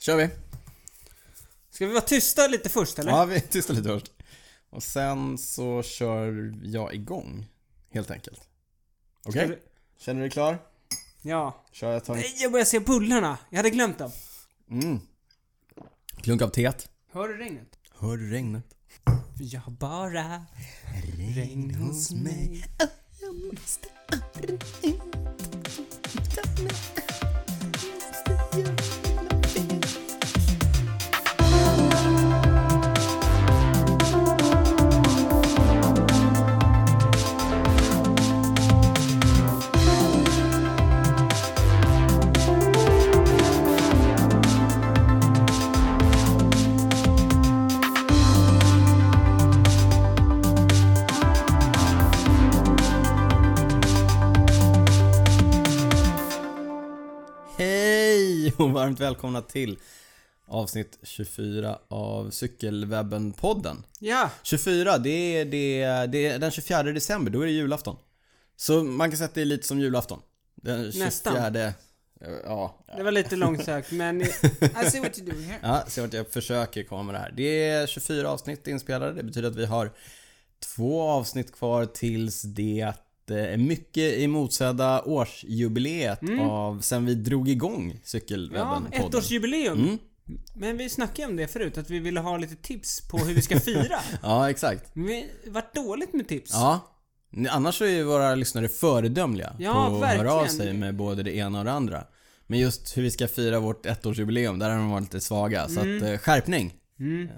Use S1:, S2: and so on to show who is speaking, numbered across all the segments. S1: Kör vi.
S2: Ska vi vara tysta lite först eller?
S1: Ja, vi tystar lite först. Och sen så kör jag igång. Helt enkelt. Okej?
S2: Ska vi-
S1: Känner du dig klar?
S2: Ja.
S1: Kör jag tar en...
S2: Nej, jag börjar se bullarna. Jag hade glömt dem.
S1: Mm. Klunk av teet.
S2: Hör du regnet?
S1: Hör du regnet?
S2: För jag har bara...
S1: Regn hos mig. Hej och varmt välkomna till avsnitt 24 av Cykelwebben-podden.
S2: Ja.
S1: 24, det är, det, är, det är den 24 december, då är det julafton. Så man kan säga att det är lite som julafton. Den 24...
S2: Nästan.
S1: eh, Ja.
S2: Det var lite långsökt men... I see what you do here.
S1: ja, se vart jag försöker komma med det här. Det är 24 avsnitt inspelade. Det betyder att vi har två avsnitt kvar tills det eh, är mycket emotsedda årsjubileet av sen vi drog igång
S2: Ja,
S1: Cykelwebben-podden.
S2: ettårsjubileum.
S1: Mm.
S2: Men vi snackade om det förut, att vi ville ha lite tips på hur vi ska fira.
S1: Ja, exakt.
S2: Men vi varit dåligt med tips.
S1: Ja. Annars så är ju våra lyssnare föredömliga
S2: Ja,
S1: på att
S2: verkligen.
S1: höra av sig med både det ena och det andra. Men just hur vi ska fira vårt ettårsjubileum, där har de varit lite svaga. Så att, eh, skärpning! Mm.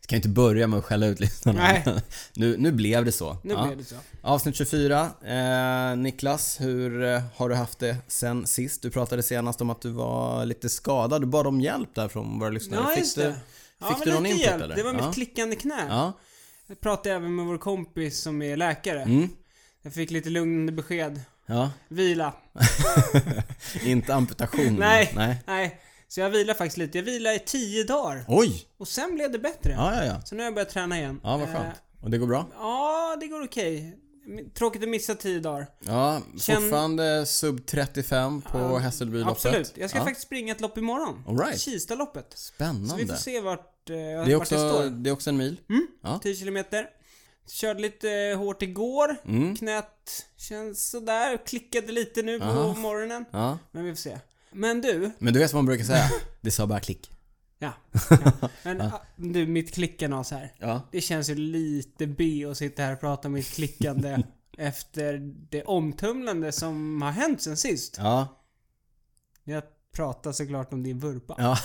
S1: ska ju inte börja med att skälla ut lyssnarna.
S2: Nej.
S1: nu, nu blev det så.
S2: Nu
S1: Ja.
S2: blev det så.
S1: Avsnitt 24. Eh, Niklas, hur eh, har du haft det sen sist? Du pratade senast om att du var lite skadad. Du bad om hjälp där från våra lyssnare.
S2: Ja,
S1: fick
S2: just
S1: du,
S2: det.
S1: fick
S2: Ja, men
S1: du någon
S2: lite
S1: input
S2: hjälp.
S1: eller?
S2: Det var
S1: ja.
S2: mitt klickande knä.
S1: Ja.
S2: Jag pratade även med vår kompis som är läkare.
S1: Mm.
S2: Jag fick lite lugnande besked.
S1: ja.
S2: Vila.
S1: Inte amputation.
S2: Nej.
S1: Mm, Nej.
S2: Nej. Så jag vilar faktiskt lite. Jag vilar i tio dagar.
S1: Oj!
S2: Och sen blev det bättre.
S1: Ja, ja, ja.
S2: Så nu har jag börjat träna igen.
S1: Ja, vad
S2: Eh,
S1: skönt. Och det går bra?
S2: ja, det går okej. Tråkigt att missa tio dagar.
S1: Ja,
S2: Känn-
S1: fortfarande sub 35 på Hässelbyloppet.
S2: Absolut. Jag ska
S1: ja.
S2: faktiskt springa ett lopp imorgon.
S1: All right.
S2: Kistaloppet. Så vi får
S1: Spännande.
S2: se vart, eh,
S1: Det är,
S2: vart det
S1: också,
S2: står. Mm.
S1: det är också en mil.
S2: 10 kilometer. Körde lite eh, hårt igår.
S1: Mm.
S2: Knät känns sådär. Klickade lite nu på
S1: Aha.
S2: morgonen.
S1: Ja.
S2: Men vi får se. Men du.
S1: Men du vet som man brukar säga, det sa bara klick.
S2: Ja. ja. Men ah, du, mitt klickande och så här.
S1: Ja.
S2: Det känns ju lite B att sitta här och prata om mitt klickande efter det omtumlande som har hänt sen sist.
S1: Ja.
S2: Jag pratar såklart om din vurpa.
S1: Ja.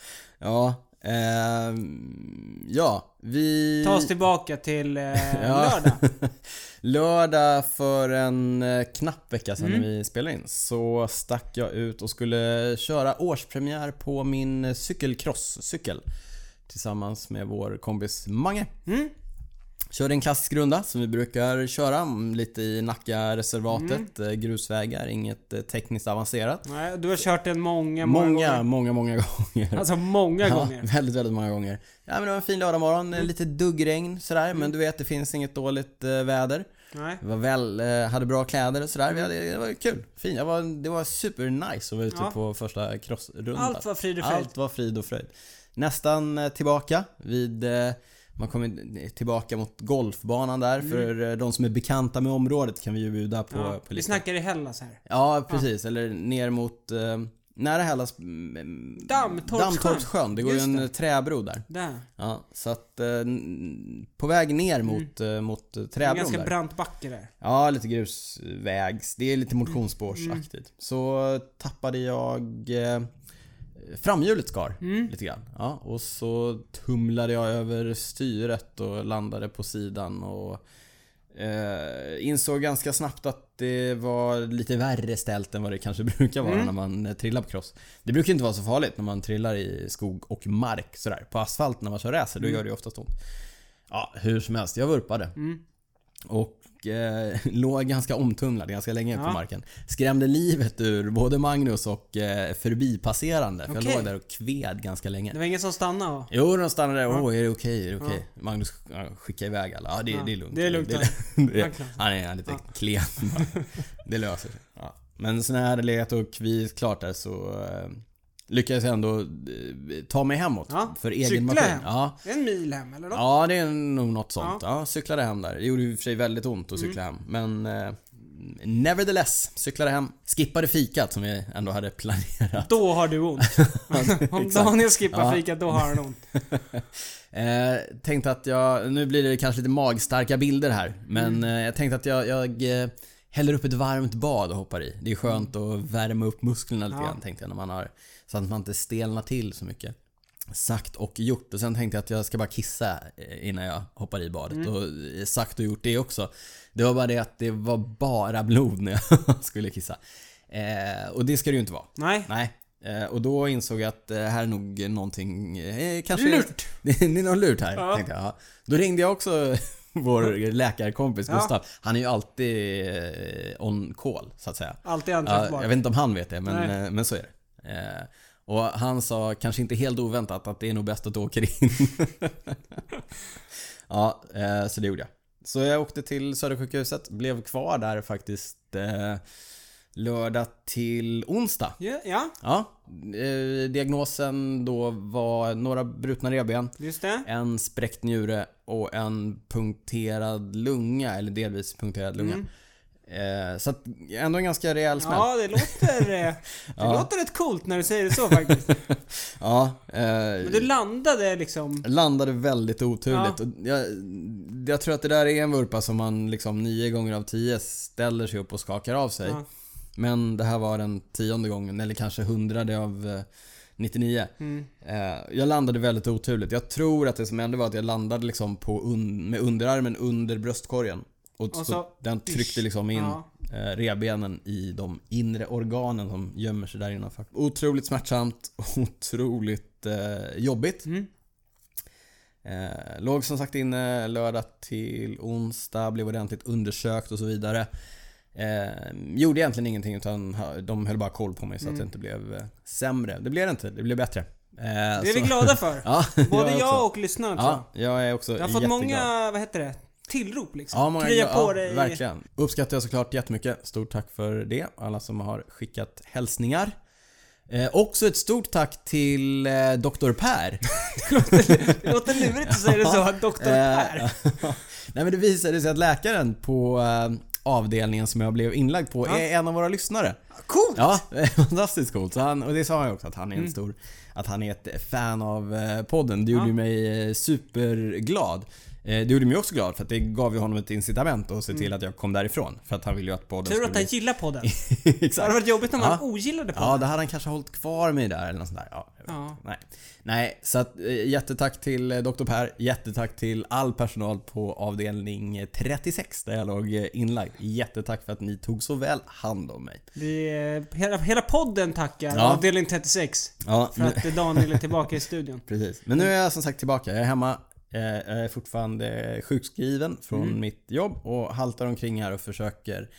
S1: ja. Ehm, ja, vi...
S2: Ta oss tillbaka till eh,
S1: Ja.
S2: lördag.
S1: Lördag för en eh, knapp vecka sedan
S2: Mm.
S1: när vi spelade in så stack jag ut och skulle köra årspremiär på min eh, cykelcrosscykel. Tillsammans med vår kompis Mange.
S2: Mm.
S1: Körde en klassisk runda som vi brukar köra mm, lite i Nacka-reservatet.
S2: Mm.
S1: eh, Grusvägar, inget eh, tekniskt avancerat.
S2: Nej, Du har kört den många, många,
S1: Många, många,
S2: gånger.
S1: många gånger.
S2: Alltså många
S1: Ja,
S2: gånger. Mm.
S1: väldigt, väldigt många gånger. Ja men det var en fin lördagmorgon, lite duggregn sådär. Men du vet, det finns inget dåligt eh, väder.
S2: Nej.
S1: Vi var väl, eh, hade bra kläder och sådär. Vi hade, det var kul. Fint. Jag var, det var supernice att vara ute
S2: Ja.
S1: på första crossrundan.
S2: Allt var frid och fröjd.
S1: Allt var frid och fröjd. Nästan eh, tillbaka vid... eh, Man kommer tillbaka mot golfbanan där. För eh, de som är bekanta med området kan vi ju bjuda på,
S2: Mm. Ja.
S1: på
S2: Vi
S1: lite.
S2: snackar i Hellas här.
S1: Ja, precis. Eller ner mot... eh, Nära Hellas... mm,
S2: Dammtorpssjön.
S1: Dammtorpssjön. Det går
S2: Just
S1: ju en
S2: det.
S1: träbro där.
S2: Där.
S1: Ja, så att... eh, n- På väg ner mot, eh, mot eh,
S2: Mm. En
S1: träbron
S2: ganska
S1: där.
S2: brant backe där.
S1: Ja, lite grusvägs. Det är lite motionsspårsaktigt. Så tappade jag eh, framhjulet skar lite grann. Ja, och så tumlade jag över styret och landade på sidan och eh, insåg ganska snabbt att det var lite värre ställt än vad det kanske brukar vara
S2: Mm.
S1: när man eh, trillar på cross. Det brukar ju inte vara så farligt när man trillar i skog och mark sådär. På asfalt när man kör racer,
S2: Mm.
S1: då gör det ju oftast ont. Ja, hur som helst. Jag vurpade.
S2: Mm.
S1: Och eh, låg ganska omtumlad ganska länge på
S2: Ja.
S1: marken. Skrämde livet ur både Magnus och eh, förbipasserande. För jag
S2: Okej.
S1: låg där och kved ganska länge.
S2: Det var ingen som stannade och...
S1: Jo, de stannade där. Åh, är det okej? Är det okej? Magnus ja, skickade iväg alla. Ja, det,
S2: Ja,
S1: det är lugnt.
S2: det är lugnt,
S1: det,
S2: Han klarar sig.
S1: han är lite klen bara. Det löser sig. Ja. Men så när jag hade legat och kvidit klart där så eh, lyckades jag ändå eh, ta mig hemåt.
S2: Ja,
S1: För egen
S2: cykla
S1: maskin.
S2: hem.
S1: Ja.
S2: En mil hem eller något?
S1: ja, det är nog något sånt. Ja. cyklade hem där. Det gjorde i och för sig väldigt ont att
S2: Mm.
S1: cykla hem. Men eh, nevertheless, cyklade hem. Skippade fikat som vi ändå hade planerat.
S2: Då har du ont. Om Daniel skippar
S1: Ja.
S2: fika, då har han ont.
S1: Eh, tänkte att jag, nu blir det kanske lite magstarka bilder här, men eh, jag tänkte att jag, jag eh, häller upp ett varmt bad och hoppar i. Det är skönt att värma upp musklerna lite
S2: Ja.
S1: grann tänkte jag när man har, så att man inte stelnar till så mycket. Sagt och gjort och sen tänkte jag att jag ska bara kissa eh, innan jag hoppar i badet och eh, sagt och gjort det också. Det var bara det att det var bara blod när jag skulle kissa. Eh, och det ska det ju inte vara.
S2: Nej.
S1: Nej. Eh, Och då insåg jag att eh, här är nog någonting... Eh, kanske
S2: Lurt.
S1: Det är någon lurt här,
S2: Ja.
S1: tänkte jag. Ja. Då ringde jag också vår läkarkompis
S2: Ja.
S1: Gustav. Han är ju alltid eh, on call, så att säga.
S2: Alltid
S1: Ja,
S2: anträffbar.
S1: jag vet inte om han vet det, men,
S2: Nej.
S1: eh, men så är det. Eh, Och han sa, kanske inte helt oväntat, att det är nog bäst att du åker in. ja, eh, så det gjorde jag. Så jag åkte till Södersjukhuset, blev kvar där faktiskt eh, lördag till onsdag.
S2: Ja, ja,
S1: Ja, eh, diagnosen då var några brutna revben,
S2: just det.
S1: en spräckt njure och en punkterad lunga, eller delvis punkterad lunga. Eh, så att ändå en ganska rejäl smäll.
S2: Mm. Ja, det låter... eh, Det låter rätt coolt när du säger det så faktiskt.
S1: Ja, eh,
S2: Men du landade liksom...
S1: landade väldigt oturligt.
S2: Ja.
S1: Och jag, jag tror att det där är en vurpa som man liksom nio gånger av tio ställer sig upp och skakar av sig.
S2: Ja.
S1: Men det här var den tionde gången, eller kanske hundrade av eh, 99.
S2: Mm.
S1: Eh, Jag landade väldigt oturligt. Jag tror att det som hände var att jag landade liksom på un- med underarmen under bröstkorgen. Och,
S2: Och
S1: så,
S2: så-
S1: den tryckte liksom in
S2: Ja.
S1: eh, revbenen i de inre organen som gömmer sig där innanför. Otroligt smärtsamt, otroligt eh, jobbigt.
S2: Mm.
S1: Eh, låg som sagt inne lördag till onsdag, blev ordentligt undersökt och så vidare. Eh, gjorde egentligen ingenting utan ha- de höll bara koll på mig så att det inte blev eh, sämre. Det blev det inte, det blev bättre. Eh,
S2: Mm. Det är vi
S1: så-
S2: glada för.
S1: Ja,
S2: Både
S1: är
S2: jag
S1: också.
S2: och lyssnarna tror jag.
S1: Ja, jag är också
S2: Jag har fått
S1: jätteglad.
S2: många, vad heter det? Tillrop liksom.
S1: Ja, många
S2: Krya på
S1: ja,
S2: dig.
S1: Verkligen. Uppskattar jag såklart jättemycket. Stort tack för det. Alla som har skickat hälsningar. Eh, också ett stort tack till eh, Dr. Per.
S2: Det låter lurigt att säga det så, att doktor Per.
S1: Eh, Nej men det visade sig att läkaren på eh, avdelningen som jag blev inlagd på
S2: Ja.
S1: är en av våra lyssnare.
S2: Coolt! Mm.
S1: Ja, fantastiskt coolt. Så han, och det sa han ju också att han är en stor, att han är ett fan av eh, podden. Det gjorde
S2: Ja.
S1: ju mig eh, superglad. Eh, Det gjorde mig också glad för att det gav ju honom ett incitament att se till att jag kom därifrån. För att han ville ju att podden
S2: Tur Mm. att han
S1: skulle
S2: gillar podden.
S1: bli...
S2: Det hade
S1: Exakt.
S2: varit jobbigt om
S1: Ja.
S2: han ogillade podden.
S1: Ja, då hade han kanske hållit kvar mig där eller något sånt där. Ja, jag vet
S2: Ja.
S1: inte. Nej. Nej, så att, eh, jättetack till eh, Dr. Per. Jättetack till all personal på avdelning 36 där jag låg eh, inlagd. Jättetack för att ni tog så väl hand om mig.
S2: Vi, eh, hela, hela podden tackar
S1: Ja.
S2: avdelning 36
S1: Ja,
S2: för att eh, Daniel är tillbaka i studion.
S1: Precis. Men nu är jag som sagt tillbaka. Jag är hemma. Eh, Jag är fortfarande sjukskriven från mitt jobb och haltar omkring här och försöker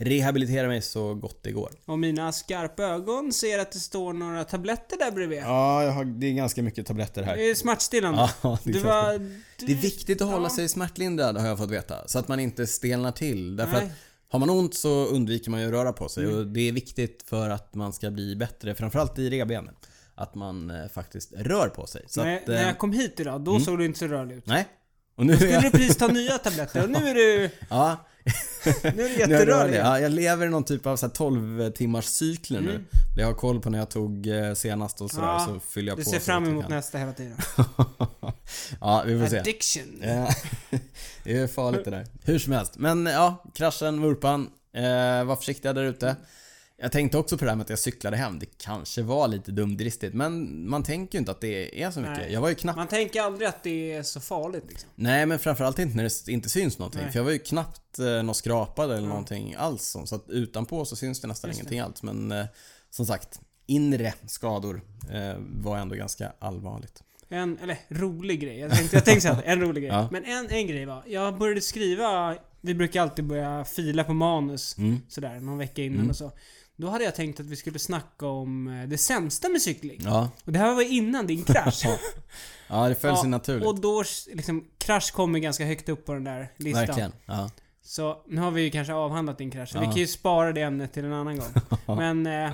S1: rehabilitera mig så gott det går.
S2: Och mina skarpa ögon ser att det står några tabletter där bredvid.
S1: Ja, jag har, det är ganska mycket tabletter här.
S2: Det är smärtstillande.
S1: Ja, det är
S2: du
S1: klart.
S2: var...
S1: Det
S2: Du,
S1: är viktigt att hålla sig smärtlindrad har jag fått veta. Så att man inte stelnar till. Därför
S2: Nej. Mm.
S1: att har man ont så undviker man ju att röra på sig. Och det är viktigt för att man ska bli bättre, framförallt i revbenen. Att man eh, faktiskt rör på sig. Så
S2: när,
S1: att, eh, Mm.
S2: när jag kom hit idag, då såg du inte så rörlig ut.
S1: Nej. Och nu är
S2: Skulle du
S1: jag,
S2: precis ta nya tabletter och nu är du,
S1: ja,
S2: nu är du
S1: Nu är jag
S2: jätterörlig.
S1: rörlig. Ja, jag lever i någon typ av så här 12 timmars cykler nu. Där jag har koll på när jag tog eh, senast och sådär
S2: Mm. Ja,
S1: så fyller jag
S2: Du
S1: på.
S2: ser
S1: så
S2: fram
S1: gott jag
S2: emot
S1: kan.
S2: nästa hela tiden.
S1: ja, vi får se. Eh,
S2: Addiction.
S1: Ja, det är farligt det där. Hur som helst. Men ja, kraschen, vurpan. Eh, var försiktiga där ute. Jag tänkte också på det här med att jag cyklade hem. Det kanske var lite dumdristigt men man tänker ju inte att det är så mycket.
S2: Nej.
S1: Jag var ju knappt...
S2: Man tänker aldrig att det är så farligt liksom.
S1: Nej men framförallt inte när det inte syns någonting.
S2: Nej.
S1: För jag var ju knappt eh, något skrapad eller någonting alls. Så så att utanpå så syns det nästan
S2: Just det.
S1: ingenting alls. Men eh, som sagt, inre skador eh, var ändå ganska allvarligt.
S2: En, eller rolig grej. Jag tänkte, jag tänkte säga en rolig grej.
S1: Ja.
S2: Men en, en grej var, jag började skriva, vi brukar alltid börja fila på manus
S1: Mm.
S2: sådär någon vecka innan och så. Då hade jag tänkt att vi skulle snacka om eh, det sämsta med cykling.
S1: Ja,
S2: Och det här var innan din krasch.
S1: ja det föll sig
S2: Ja,
S1: naturligt.
S2: Och då, liksom, krasch kommer ganska högt upp på den där listan.
S1: Verkligen. Ja.
S2: Så nu har vi ju kanske avhandlat din krasch. så Vi
S1: Ja.
S2: kan ju spara det ämnet till en annan gång. Men eh,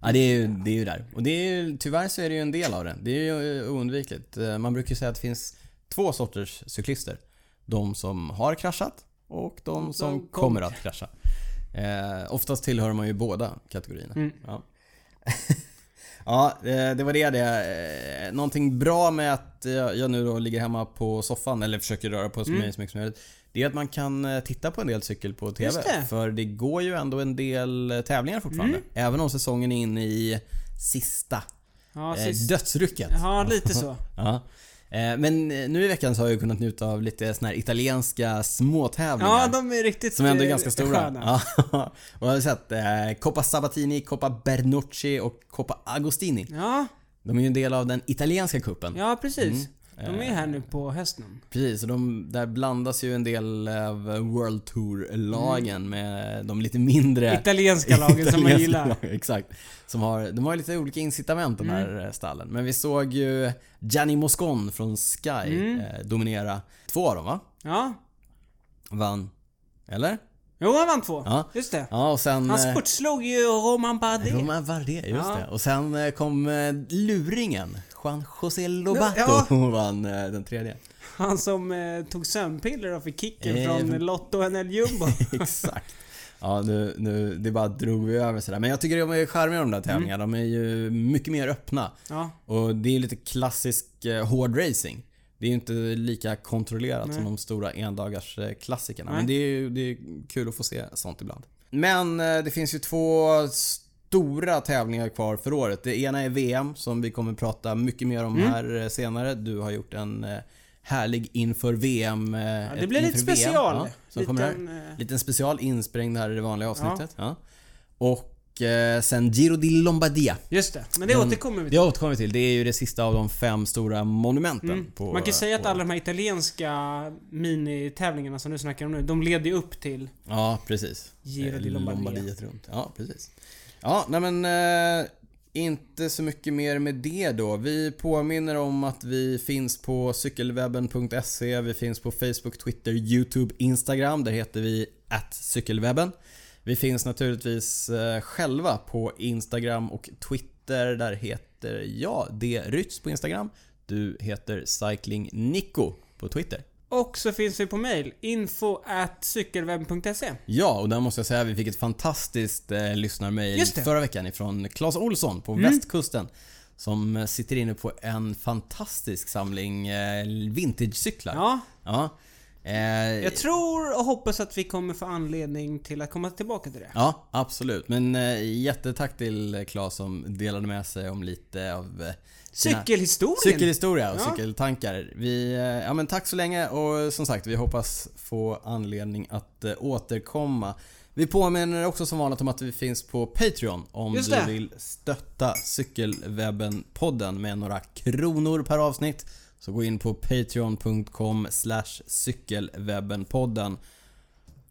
S1: Ja, det är, ju, det är ju där. Och det är, ju- tyvärr så är det ju en del av den. Det är ju eh, oundvikligt. Eh, Man brukar ju säga att det finns två sorters cyklister. De som har kraschat och de som
S2: kom-
S1: kommer att krascha. Eh, oftast tillhör man ju båda kategorierna.
S2: Mm.
S1: Ja. ja, eh, det var det. det. Eh, Någonting bra med att eh, jag nu då ligger hemma på soffan eller försöker röra på
S2: Mm.
S1: mig så mycket som möjligt. Det är att man kan eh, titta på en del cykel på TV.
S2: Just det. Mm.
S1: För det går ju ändå en del eh, tävlingar fortfarande. Även om säsongen är inne i sista,
S2: Ja,
S1: eh,
S2: sist.
S1: dödsrycket.
S2: ja lite så.
S1: Ja. Eh, Men eh, nu i veckan så har jag ju kunnat njuta av lite såna här italienska småtävlingar.
S2: Ja, de är riktigt
S1: Som ändå är
S2: eh,
S1: ganska stora.
S2: sköna.
S1: Ja. Och jag har sett eh, Coppa Sabatini, Coppa Bernocchi och Coppa Agostini.
S2: Ja,
S1: De är ju en del av den italienska kuppen.
S2: ja precis.
S1: Mm.
S2: De är här nu på hösten.
S1: Precis, och de, där blandas ju en del av World Tour-lagen med de lite mindre
S2: Mm. Italienska lagen som man
S1: Eh. italienska
S2: gillar.
S1: lagen, Exakt. Som har, de har ju lite olika incitament de här
S2: Mm.
S1: eh, stallen. Men vi såg ju Gianni Moscon från Sky
S2: Mm.
S1: eh, dominera två av dem va?
S2: Ja.
S1: Vann. Eller?
S2: Jo, han vann två.
S1: Ja.
S2: Just det.
S1: Ja, och sen...
S2: Han
S1: eh,
S2: sportslog ju Roman Bardet.
S1: Romain Bardet, just
S2: Ja.
S1: det. Och sen eh, kom eh, luringen. Juan José Lobato
S2: Ja.
S1: vann eh, den tredje.
S2: Han som eh, tog sömnpiller och fick kicken
S1: Eh,
S2: från
S1: från-
S2: Lotto och NL Jumbo.
S1: Exakt. Ja, nu, nu, det bara drog vi över sådär. Men jag tycker de är charmiga
S2: Mm.
S1: de där tävlingarna. De är ju mycket mer öppna.
S2: Ja.
S1: Och det är ju lite klassisk eh, hård racing. Det är ju inte lika kontrollerat som de stora endagars eh, klassikerna. Men det är ju det är kul att få se sånt ibland. Men eh, det finns ju två stora tävlingar kvar för året. Det ena är VM som vi kommer prata mycket mer
S2: Mm.
S1: om här eh, senare. Du har gjort en eh, härlig inför VM. eh,
S2: Ja, det
S1: ett
S2: blir lite
S1: inför VM,
S2: special.
S1: ja, som kommer här.
S2: Liten, eh,
S1: Liten special insprängd här i det vanliga avsnittet. Ja. Och eh, sen Giro di Lombardia.
S2: just det, men det
S1: Mm.
S2: återkommer vi
S1: Det
S2: till.
S1: har jag återkommit till. Det är ju det sista av de fem stora monumenten. På,
S2: Mm. Man kan ju säga att
S1: på-
S2: alla de här italienska minitävlingarna som du snackar om nu, de leder ju upp till...
S1: Ja, precis.
S2: Giro di
S1: Eh,
S2: Lombardia.
S1: Lombardiet runt. Ja, precis. Ja, nej men... Eh, inte så mycket mer med det då. Vi påminner om att vi finns på cykelwebben.se. Vi finns på Facebook, Twitter, YouTube, Instagram. Där heter vi cykelwebben. Vi finns naturligtvis eh, själva på Instagram och Twitter. Där heter jag D. Rytz på Instagram. Du heter Cycling Nico på Twitter.
S2: Och så finns vi på mail. Info at cykelwebben.se.
S1: Ja, och där måste jag säga att vi fick ett fantastiskt eh, lyssnarmail
S2: Just det. Mm.
S1: förra veckan ifrån Claes Olsson på västkusten. Som eh, sitter inne på en fantastisk samling eh, vintagecyklar.
S2: Ja,
S1: Ja. Eh,
S2: jag tror och hoppas att vi kommer få anledning till att komma tillbaka till det.
S1: ja, absolut. Men eh, jättetack till eh, Claes som delade med sig om lite av eh, sina-
S2: Cykelhistorien!
S1: Cykelhistoria och
S2: Ja.
S1: cykeltankar. Vi, eh, ja, men tack så länge och som sagt vi hoppas få anledning att eh, återkomma. Vi påminner också som vanligt om att vi finns på Patreon om
S2: Just
S1: du
S2: det.
S1: vill stötta Cykelwebben-podden med några kronor per avsnitt. Så gå in på patreon.com cykelwebbenpodden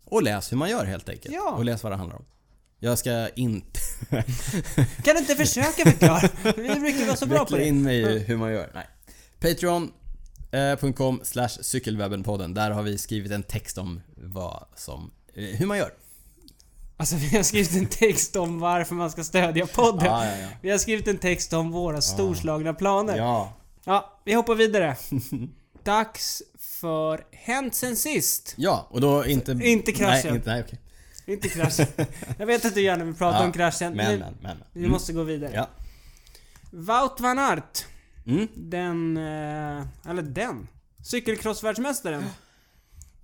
S1: och läs hur man gör helt enkelt.
S2: Ja.
S1: Och läs vad det handlar om. Jag ska inte
S2: Kan du inte försöka förklara? Du brukar vara så bra på
S1: Veckla
S2: det. Mm.
S1: in mig i hur man gör. Nej. Patreon.com slash cykelwebbenpodden. Där har vi skrivit en text om vad som, eh, hur man gör.
S2: Alltså vi har skrivit en text om varför man ska stödja podden.
S1: Ja, ja, ja.
S2: Vi har skrivit en text om våra storslagna planer. Ja.
S1: Ah, Ja.
S2: vi hoppar vidare. Dags för Hänt sen sist.
S1: Ja, och då inte...
S2: Inte kraschen.
S1: Nej, inte, nej okej.
S2: Inte kraschen. Jag vet att du gärna vill prata
S1: Ja,
S2: om kraschen.
S1: Men,
S2: nu,
S1: men, men. Mm.
S2: Vi måste gå vidare.
S1: Ja.
S2: Wout van Aert.
S1: Mm.
S2: Den... eh, Eller den. Cykelcrossvärldsmästaren.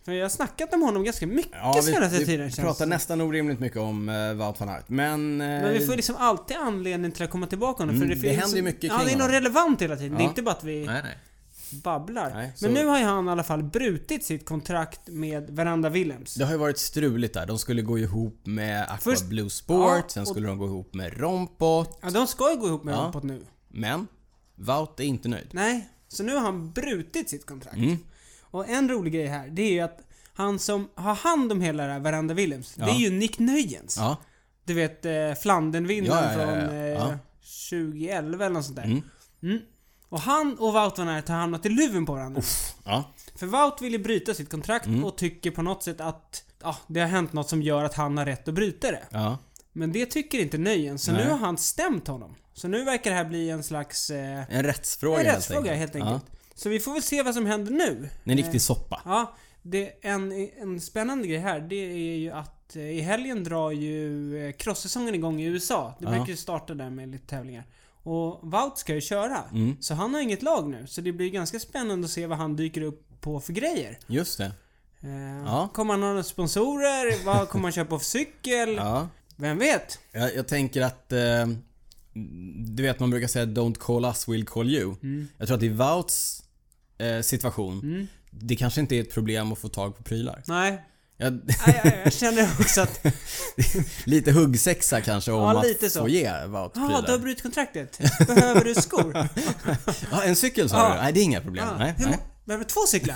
S2: För jag har snackat om honom ganska mycket
S1: Ja,
S2: senaste
S1: vi,
S2: tiden
S1: vi
S2: känns
S1: pratar
S2: det.
S1: nästan orimligt mycket om uh, Wout van Aert, men... eh,
S2: Men vi får liksom alltid anledning till att komma tillbaka honom.
S1: Mm,
S2: för det,
S1: det
S2: finns
S1: händer ju mycket
S2: Ja,
S1: kring
S2: det är något
S1: honom.
S2: relevant hela tiden. Det är
S1: Ja.
S2: inte bara att vi
S1: Nej, nej.
S2: babblar.
S1: Nej, så-
S2: Men nu har ju han i alla fall brutit sitt kontrakt med Veranda Williams.
S1: Det har ju varit struligt där. De skulle gå ihop med Aqua
S2: Först-
S1: Blue Sport,
S2: Ja,
S1: sen
S2: och-
S1: skulle de gå ihop med Rompot.
S2: Ja, de ska ju gå ihop med
S1: Ja.
S2: ja. Rompot nu.
S1: Men Wout är inte nöjd.
S2: Nej, så nu har han brutit sitt kontrakt.
S1: Mm.
S2: Och en rolig grej här, det är ju att han som har hand om hela det här Veranda Williams, det
S1: Ja.
S2: är ju Nick Nöjens.
S1: Ja.
S2: Du vet eh, Flandernvinnaren
S1: Ja, ja, ja, ja.
S2: från eh,
S1: Ja.
S2: 2011 eller något sånt där. Mm. Och han och Wout van Aert har hamnat i luven på varandra.
S1: Ja.
S2: För Wout vill ju bryta sitt
S1: Mm.
S2: kontrakt och tycker på något sätt att ja, det har hänt något som gör att han har rätt att bryta det.
S1: Ja.
S2: Men det tycker inte Nöjen, så
S1: Nej.
S2: nu har han stämt honom. Så nu verkar det här bli en slags... Eh,
S1: En rättsfråga
S2: en rättsfråga helt enkelt.
S1: Ja.
S2: Så vi får väl se vad som händer nu.
S1: En riktig soppa.
S2: Ja, det, en, en spännande grej här det är ju att eh, i helgen drar ju eh, cross-säsongen igång i USA. Det
S1: Ja.
S2: brukar ju starta där med lite tävlingar. Och Wout ska ju köra.
S1: Mm.
S2: Så han har inget lag nu. Så det blir ganska spännande att se vad han dyker upp på för grejer.
S1: Just det.
S2: Eh,
S1: Ja.
S2: Kommer han ha några sponsorer? Vad kommer han köpa för cykel?
S1: Ja.
S2: Vem vet?
S1: Jag, jag tänker att... Eh, du vet man brukar säga “Don't call us, we'll call you”.
S2: Mm.
S1: Jag tror att i Vouts eh, situation, det kanske inte är ett problem att få tag på prylar.
S2: Nej.
S1: Jag,
S2: Nej, jag, jag känner också att...
S1: lite huggsexa kanske om
S2: Ja,
S1: att
S2: lite så.
S1: få ge Vout
S2: Ah,
S1: prylar.
S2: du har brutit kontraktet. Behöver du skor?
S1: Ja, en cykel sa
S2: Ja.
S1: du? Nej, det är inga problem.
S2: Ah,
S1: Nej,
S2: hur
S1: nej.
S2: må- Behöver du två cyklar?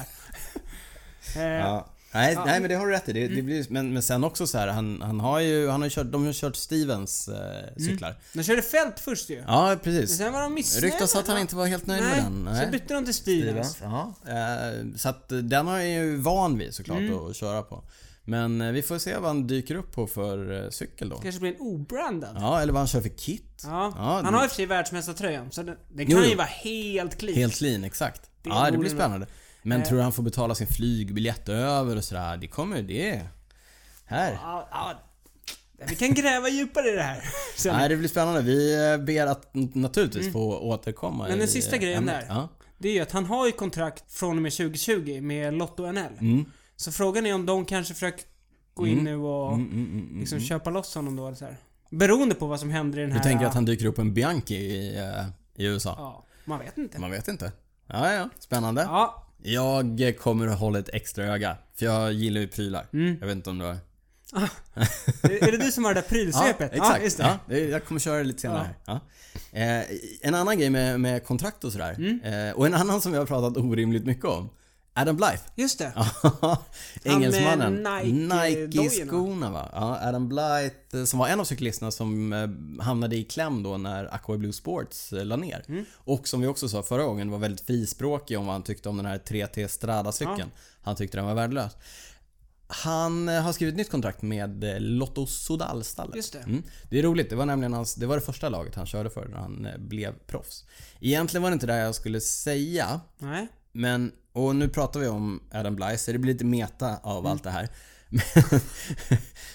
S2: Eh,
S1: Ja. Nej, nej men det har du rätt i. Det, det
S2: Mm.
S1: blir, men, men sen också så här, han, han har ju, han har ju kört, de har kört Stevens
S2: Mm.
S1: eh, cyklar.
S2: De körde fält först ju.
S1: Ja,
S2: Men
S1: precis.
S2: Sen var de missnöjda.
S1: Ryktas att han inte var helt nöjd
S2: Nej,
S1: med den.
S2: så
S1: Nej.
S2: bytte de till Stevens.
S1: Stevens. Ja. Eh, så att eh, den har jag ju van vid såklart
S2: Mm.
S1: att, att köra på. Men eh, vi får se vad han dyker upp på för eh, cykel då.
S2: Kanske blir en obrandad. Ja.
S1: Ja, eller vad han kör för kit. Ja,
S2: han har i och för sig världsmästartröjan, så den, den kan
S1: Jo, jo.
S2: ju vara helt clean.
S1: Helt clean, exakt.
S2: Det Eh.
S1: ja, det
S2: borde
S1: blir
S2: nog-
S1: spännande. Men tror du han får betala sin flygbiljett över och sådär? Det kommer det. Här.
S2: Ja, ja. Vi kan gräva djupare i det här. Sen.
S1: Nej, det blir spännande. Vi eh, ber att n- naturligtvis få återkomma
S2: Men den
S1: i,
S2: sista
S1: eh,
S2: grejen
S1: ämnet.
S2: där.
S1: Ja.
S2: Det är ju att han har ju kontrakt från och med 2020 med Lotto NL.
S1: Mm.
S2: Så frågan är om de kanske försöker gå in nu och
S1: Mm,
S2: liksom köpa loss honom då. eller Så här. Beroende på vad som händer i den
S1: Du
S2: här...
S1: tänker att han dyker upp på en Bianchi i, eh, i USA?
S2: Ja, man vet inte.
S1: Man vet inte. Ja, ja. Spännande.
S2: Ja,
S1: Jag eh, kommer att hålla ett extra öga. För jag gillar ju prylar. Jag vet inte om du har...
S2: är det du som har det där prylsvepet?
S1: exakt.
S2: just det.
S1: Ja, det- jag kommer köra det lite senare. här. Ja. Eh, en annan grej med, med kontrakt och sådär. Eh, och en annan som jag har pratat orimligt mycket om. Adam Blythe.
S2: Just det.
S1: Engelsmannen.
S2: Han med Nike-
S1: Nike-skorna va? Ja, Adam Blythe eh, som var en av cyklisterna som eh, hamnade i kläm då när Aqua Blue Sports eh, la ner.
S2: Mm.
S1: Och som vi också sa förra gången var väldigt frispråkig om vad han tyckte om den här 3T Strada-cykeln. Han tyckte den var värdelös. Han eh, har skrivit ett nytt kontrakt med eh, Lotto Sodal-stallet.
S2: Just det.
S1: Mm. Det är roligt. Det var nämligen hans, det var det första laget han körde för när han eh, blev proffs. Egentligen var det inte det jag skulle säga.
S2: Nej.
S1: Men, och nu pratar vi om Adam Blythe, så det blir lite meta av allt det här. Men,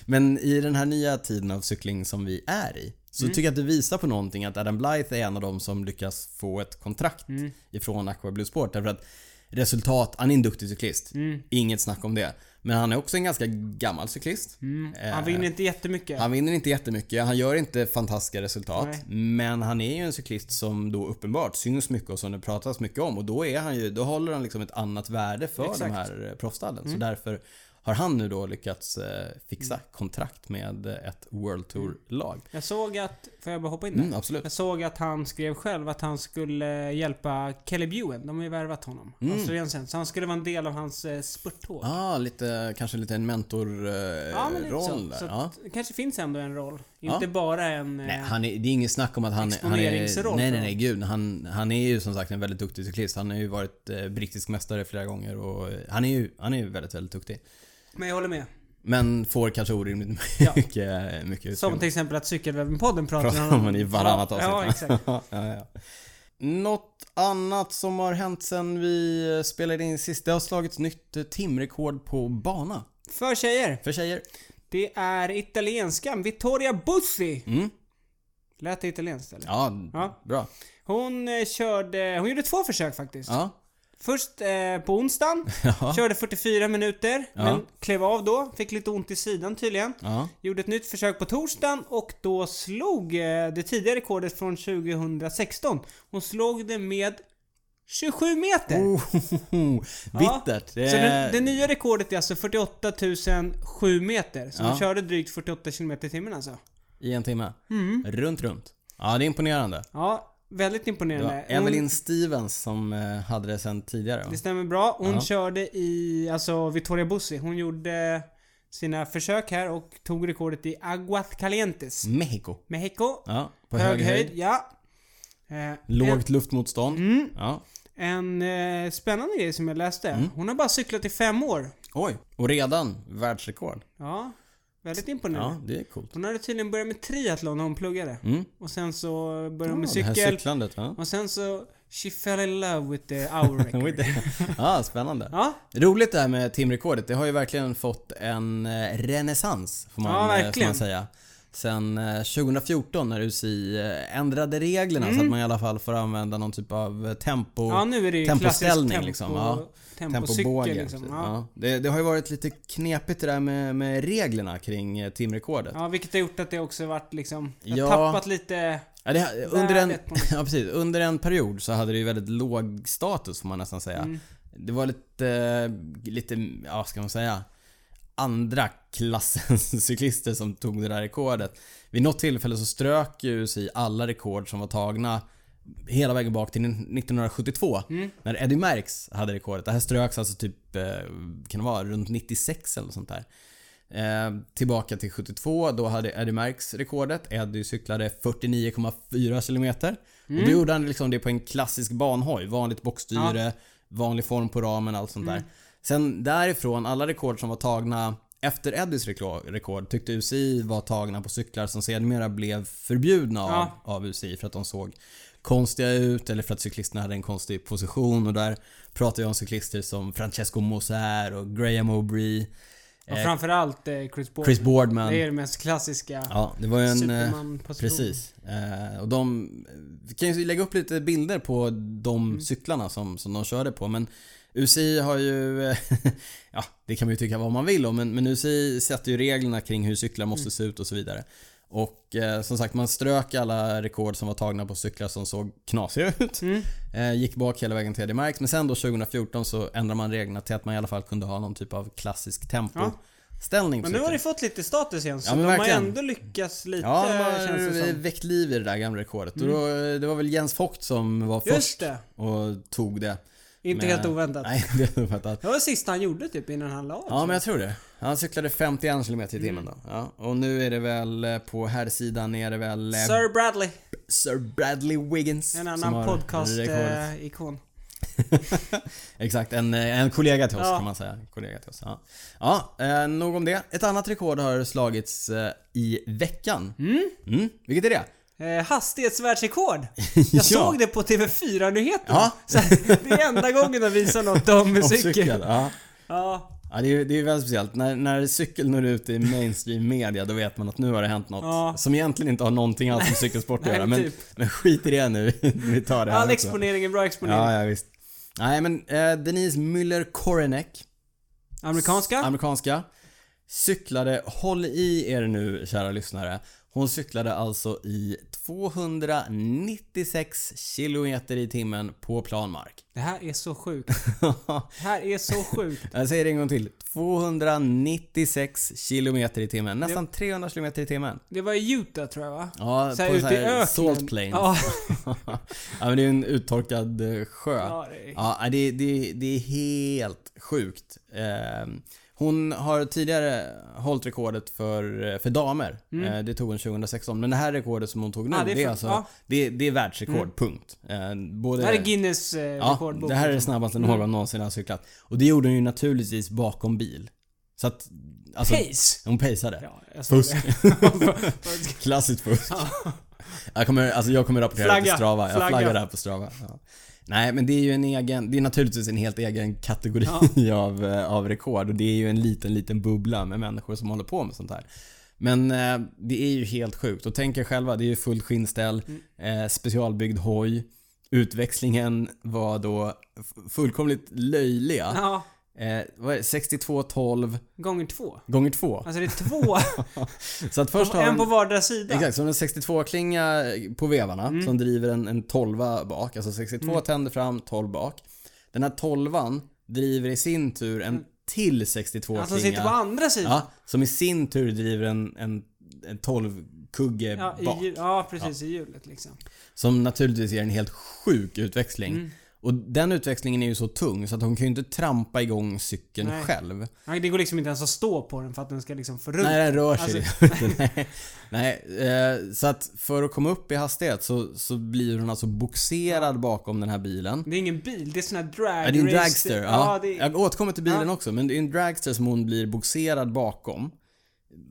S1: men i den här nya tiden av cykling som vi är i, så tycker jag att det visar på någonting att Adam Blythe är en av dem som lyckas få ett kontrakt ifrån Aqua Blue Sport. Därför att resultat, han är en duktig cyklist. Inget snack om det. Men han är också en ganska gammal cyklist. Eh,
S2: Han vinner inte jättemycket.
S1: Han vinner inte jättemycket, han gör inte fantastiska resultat. Men han är ju en cyklist som då uppenbart syns mycket och som det pratas mycket om. Och då, är han ju, då håller han liksom ett annat värde för de
S2: Exakt. Mm.
S1: här eh, proffstallen. Så därför har han nu då lyckats eh, fixa kontrakt med eh, ett World
S2: Mm.
S1: Tour-lag.
S2: Jag såg att... Får jag bara hoppa in där?
S1: Mm, absolut.
S2: Jag såg att han skrev själv att han skulle hjälpa Kelly Buen. De har ju värvat honom.
S1: Mm.
S2: Australiensaren. Så han skulle vara en del av hans eh, spurttåg.
S1: Ah, lite, kanske lite en mentorroll eh,
S2: Ja, men lite
S1: roll
S2: så.
S1: där.
S2: så
S1: Ja.
S2: att det kanske finns ändå en roll. Inte bara en... eh,
S1: Nej,
S2: Nej,
S1: han är, det är inget snack om att han, han är...
S2: Exponeringsroll
S1: Nej,
S2: för
S1: nej, nej,
S2: honom.
S1: gud. Han, han är ju som sagt en väldigt duktig cyklist. Han har ju varit eh, brittisk mästare flera gånger och eh, han är ju, han är ju väldigt, väldigt duktig.
S2: Men jag håller med.
S1: Men får kanske orimligt
S2: Ja.
S1: mycket, eh, mycket utrymme.
S2: Som till exempel att Cykelwebben-podden pratar
S1: Pratar om i varannat
S2: ja,
S1: avsnitt.
S2: Ja, exakt.
S1: ja, ja. Något annat som har hänt sen vi eh, spelade in sist. Det har slagits nytt eh, timrekord på bana.
S2: För tjejer.
S1: För tjejer.
S2: Det är italienskan Vittoria Bussi.
S1: Mm.
S2: Lät det italienskt eller?
S1: Ja,
S2: Ja.
S1: bra.
S2: Hon eh, körde... Hon gjorde två försök faktiskt.
S1: Ja.
S2: Först eh, på onsdagen.
S1: Ja.
S2: Körde 44 minuter.
S1: Ja.
S2: Men klev av då. Fick lite ont i sidan tydligen.
S1: ja.
S2: Gjorde ett nytt försök på torsdagen och då slog eh, det tidigare rekordet från 2016. Hon slog det med 27 meter.
S1: Oh,
S2: Ja.
S1: bittert.
S2: Så det, det nya rekordet är alltså 48 007 meter. Så
S1: Ja.
S2: hon körde drygt 48 km i timmen alltså.
S1: I en timme.
S2: Mm.
S1: Runt, runt. Ja, det är imponerande.
S2: Ja, väldigt
S1: Det var
S2: imponerande. Hon,
S1: Evelyn Stevens som eh, hade det sen tidigare. va?
S2: det stämmer bra. Hon körde i, alltså Vittoria Bussi. Hon gjorde sina försök här och tog rekordet i Aguascalientes.
S1: Mexiko.
S2: Mexiko.
S1: Ja, Mm. på
S2: hög höjd, Mm. ja. Eh, en-
S1: Lågt luftmotstånd. Ja.
S2: En eh, spännande grej som jag
S1: Mm.
S2: läste. Hon har bara cyklat i fem år.
S1: Oj, och redan världsrekord.
S2: Ja. Väldigt imponerande.
S1: Ja, det är coolt.
S2: Hon hade tydligen börjat med triathlon när hon pluggade.
S1: Mm.
S2: Och sen så började hon med
S1: Ja, Det här
S2: cykel.
S1: cyklandet, ja.
S2: Och sen så... She fell in love with the hour record.
S1: ja, spännande.
S2: ja,
S1: Roligt det här med timrekordet. Det har ju verkligen fått en eh, renässans, får man,
S2: Ja,
S1: eh, får
S2: verkligen.
S1: man säga. Sen eh, 2014 när UCI eh, ändrade reglerna så att man i alla fall får använda någon typ av eh, tempo...
S2: Mm. ja nu är det ju
S1: tempoställning,
S2: klassisk tempo,
S1: liksom, ja.
S2: tempocykel liksom.
S1: precis.
S2: Ja.
S1: Ja. Det, det har ju varit lite knepigt det där med, med reglerna kring eh, timrekordet.
S2: ja, vilket har gjort att det också varit liksom... Jag har
S1: Ja.
S2: tappat lite...
S1: Ja, det, under, en,
S2: Värdet på något
S1: ja, precis, under en period så hade det ju väldigt låg status får man nästan säga.
S2: Mm.
S1: Det var lite, eh, lite, ja ska man säga, andra klassens cyklister som tog det där rekordet. Vid något tillfälle så strök ju sig alla rekord som var tagna hela vägen bak till 1972.
S2: Mm.
S1: När Eddie Merckx hade rekordet. Det här ströks alltså typ, eh, kan det vara, runt 96 eller något sånt där. Eh, tillbaka till 72, då hade Eddie Merckx rekordet. Eddie cyklade 49,4 kilometer. Och då gjorde han liksom det på en klassisk banhoj. Vanligt bockstyre, vanlig form på ramen, allt sånt där. Sen därifrån, alla rekord som var tagna efter Eddies reklo- rekord tyckte UCI var tagna på cyklar som sedermera blev förbjudna av,
S2: Ja.
S1: av UCI för att de såg konstiga ut eller för att cyklisterna hade en konstig position. Och där pratar jag om cyklister som Francesco Moser och Graham O'Bree.
S2: Och framförallt eh, Chris Paul.
S1: Chris Boardman.
S2: Det är det mest klassiska.
S1: Ja, det var ju en... eh,
S2: Superman-position.
S1: Precis. Eh, och de... Vi kan ju lägga upp lite bilder på de
S2: Mm.
S1: cyklarna som, som de körde på men UCI har ju... eh, ja, det kan man ju tycka vad man vill om men, men UCI sätter ju reglerna kring hur cyklar
S2: Mm.
S1: måste se ut och så vidare. Och eh, som sagt, man strök alla rekord som var tagna på cyklar som såg knasiga ut.
S2: Mm.
S1: Eh, gick bak hela vägen till Eddie Merckx. Men sen då 2014 så ändrade man reglerna till att man i alla fall kunde ha någon typ av klassisk tempoställning på
S2: Men nu har
S1: cykeln.
S2: det fått lite status igen, så
S1: Ja, men
S2: de har
S1: verkligen.
S2: ändå lyckats lite
S1: Ja, de har
S2: känns det som.
S1: Eh,
S2: Mm.
S1: väckt liv i det där gamla rekordet. Och då, eh, det var väl Jens Vogt som var
S2: Just
S1: först
S2: det.
S1: och tog det.
S2: Inte
S1: Men-
S2: helt oväntat.
S1: Nej, det är oväntat.
S2: Det var det sista han gjorde typ innan han la av.
S1: Ja, men jag tror det. Han cyklade 51 km i
S2: Mm.
S1: timmen då. Ja, och nu är det väl eh, på här sidan är det väl eh,
S2: Sir Bradley.
S1: Sir Bradley Wiggins.
S2: En
S1: som har
S2: annan eh.
S1: rekordet.
S2: podcast-ikon.
S1: Exakt, en, eh, en kollega till oss
S2: Ja.
S1: kan man säga. En Kollega till oss, ja. ja, eh, nog om det. Ett annat rekord har slagits eh, i veckan. Mm. Vilket är det?
S2: Eh, hastighetsvärldsrekord! Jag såg det på TV4-nyheterna.
S1: Ja.
S2: Så det är enda gången de visar något om
S1: Om
S2: cykel.
S1: Ja.
S2: Ja,
S1: Ja, det är ju det är ju väldigt speciellt. När, när cykel når ut i mainstream media då vet man att nu har det hänt något
S2: Ja.
S1: som egentligen inte har någonting alls med cykelsport att
S2: Nej,
S1: göra. Men,
S2: typ.
S1: men skit i det nu. Vi tar det här
S2: all
S1: också.
S2: exponering är bra exponering.
S1: Ja, ja visst. Nej men eh, Denise Müller Korenek,
S2: Amerikanska?
S1: amerikanska, cyklade, håll i er nu kära lyssnare. Hon cyklade alltså i 296 kilometer i timmen på plan mark.
S2: det här är så sjukt. Det här är så sjukt.
S1: Jag säger det en gång till. 296 kilometer i timmen. Nästan 300 kilometer i timmen.
S2: Det var i Utah tror jag va?
S1: Ja,
S2: Så här
S1: på
S2: ute
S1: så
S2: i
S1: här
S2: öknen.
S1: Salt Plains. Ja.
S2: Ja,
S1: men det är ju en uttorkad eh, sjö.
S2: Ja,
S1: Ja,
S2: det
S1: det
S2: är-
S1: är, det, det, är helt sjukt. Ehm, Hon har tidigare hållit rekordet för, för damer. Eh, Det tog hon 2016. Men det här rekordet som hon tog nu,
S2: Mm. Ja, det
S1: det
S2: är
S1: är,
S2: för-
S1: alltså,
S2: ja. Mm.
S1: det, det är världsrekord. Punkt. Eh, Både,
S2: det här är Guinness eh,
S1: Ja,
S2: rekordbok.
S1: det här är det snabbaste någon någonsin har cyklat. Och det gjorde hon ju naturligtvis bakom bil. Så att... Alltså,
S2: Pace!
S1: hon paceade.
S2: Ja, jag såg
S1: Fusk.
S2: det.
S1: Klassiskt fusk. Jag kommer, alltså jag kommer rapportera det
S2: Flagga.
S1: på Strava. Jag
S2: Flagga.
S1: flaggar det här på Strava. Ja. Nej men det är ju en egen, det är naturligtvis en helt egen kategori av, eh, av rekord. Och det är ju en liten, liten bubbla med människor som håller på med sånt här. Men eh, det är ju helt sjukt. Och tänk er själva, det är ju fullt skinnställ,
S2: Mm.
S1: eh, specialbyggd hoj. Utväxlingen var då f- fullkomligt löjliga.
S2: Ja,
S1: Eh, vad är det? 62-12
S2: gånger två.
S1: gånger 2.
S2: Alltså det är två,
S1: Så att först har
S2: en
S1: de-
S2: på vardera sida.
S1: Exakt, som en 62-klinga på vevarna
S2: Mm.
S1: som driver en, en 12 bak. Alltså 62 tänder fram, 12 bak. Den här 12 driver i sin tur en till 62-klinga.
S2: Mm. Alltså de sitter på andra sidan.
S1: ja, som i sin tur driver en, en, en 12-kugge
S2: Ja, i,
S1: bak.
S2: hjul- ja precis, i hjulet liksom.
S1: Som naturligtvis ger en helt sjuk utväxling.
S2: Mm.
S1: Och den utväxlingen är ju så tung så att hon kan ju inte trampa igång cykeln
S2: Nej.
S1: själv.
S2: Ja, det går liksom inte ens att stå på den för att den ska liksom få runt.
S1: Nej, den rör sig liksom inte. Nej, nej eh, så att för att komma upp i hastighet så, så blir hon alltså boxerad bakom den här bilen.
S2: Det är ingen bil, det är sån här drag
S1: Ja, det är en
S2: race.
S1: dragster.
S2: Ja,
S1: Ja,
S2: det är,
S1: Jag återkommer till bilen också, men det är en dragster som hon blir boxerad bakom.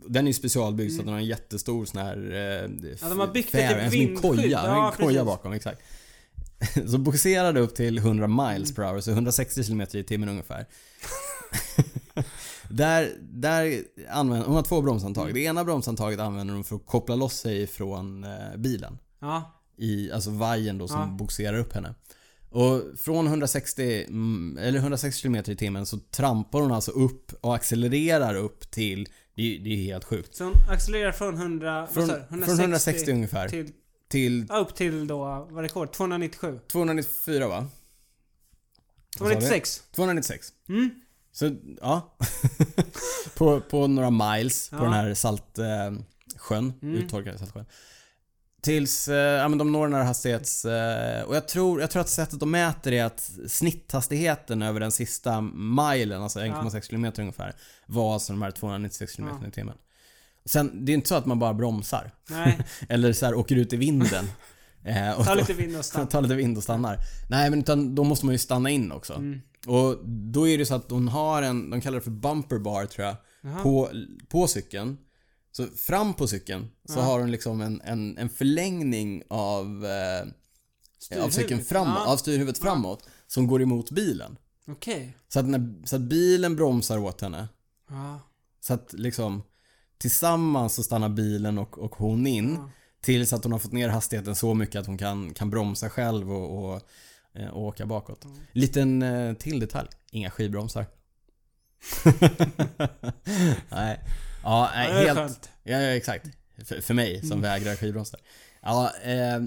S1: Den är ju specialbyggd så att den har en jättestor sån här... Eh,
S2: Mm. Ja, de har byggt
S1: fä-
S2: ett typ
S1: en som en
S2: vindskydd.
S1: koja,
S2: Ja,
S1: en koja
S2: precis.
S1: bakom, exakt. Så boxerade upp till 100 miles per hour, så 160 km i timmen ungefär. där, där använder, hon har två bromshandtag. Det ena bromshandtaget använder hon för att koppla loss sig från eh, bilen
S2: Ja.
S1: i alltså vajern då som boxerar upp henne. Och från 160, mm, eller 160 km i timmen så trampar hon alltså upp och accelererar upp till, det, är- det är helt sjukt.
S2: Så hon accelererar från 100...
S1: Från,
S2: vad sa du?
S1: från 160 ungefär till,
S2: till... ja, Upp till då, vad var rekord? 297?
S1: 294 va? Vad sa vi?
S2: 296?
S1: 296.
S2: Mm.
S1: Så ja. på, på några miles på
S2: Ja. Mm.
S1: den här saltsjön, eh, sjön, uttorkade saltsjön. Tills eh, ja, men de når den här hastighets... Eh, och jag tror, jag tror att sättet de mäter är att snitthastigheten över den sista milen, alltså 1,6 km ungefär, var alltså de här 296 km i timmen. Sen, det är inte så att man bara bromsar.
S2: Nej.
S1: Eller så här åker ut i vinden. Eh, och
S2: Ta
S1: då-
S2: lite vind och stanna.
S1: tar lite vind och stannar. Nej men utan då måste man ju stanna in också. Och då är det så att hon har en, de kallar det för bumper bar tror jag,
S2: Ah.
S1: på, på cykeln. Så fram på cykeln så har hon liksom en, en, en förlängning av, eh, av cykeln
S2: Styrhuvudet. Ah.
S1: framåt,
S2: Ja.
S1: av styrhuvudet framåt som går emot bilen.
S2: Okej.
S1: Så att, när, så att bilen bromsar åt henne.
S2: Ja.
S1: Så att liksom tillsammans så stannar bilen och, och hon in.
S2: Ah.
S1: Tills att hon har fått ner hastigheten så mycket att hon kan, kan bromsa själv och, och, eh, och åka bakåt.
S2: Mm.
S1: Liten eh, till detalj. Inga skivbromsar. nej. Ja, nej,
S2: Ja, det är
S1: helt...
S2: skönt. Mm.
S1: Ja, ja, exakt. För, för mig som vägrar skivbromsar. Ja, eh,
S2: Jag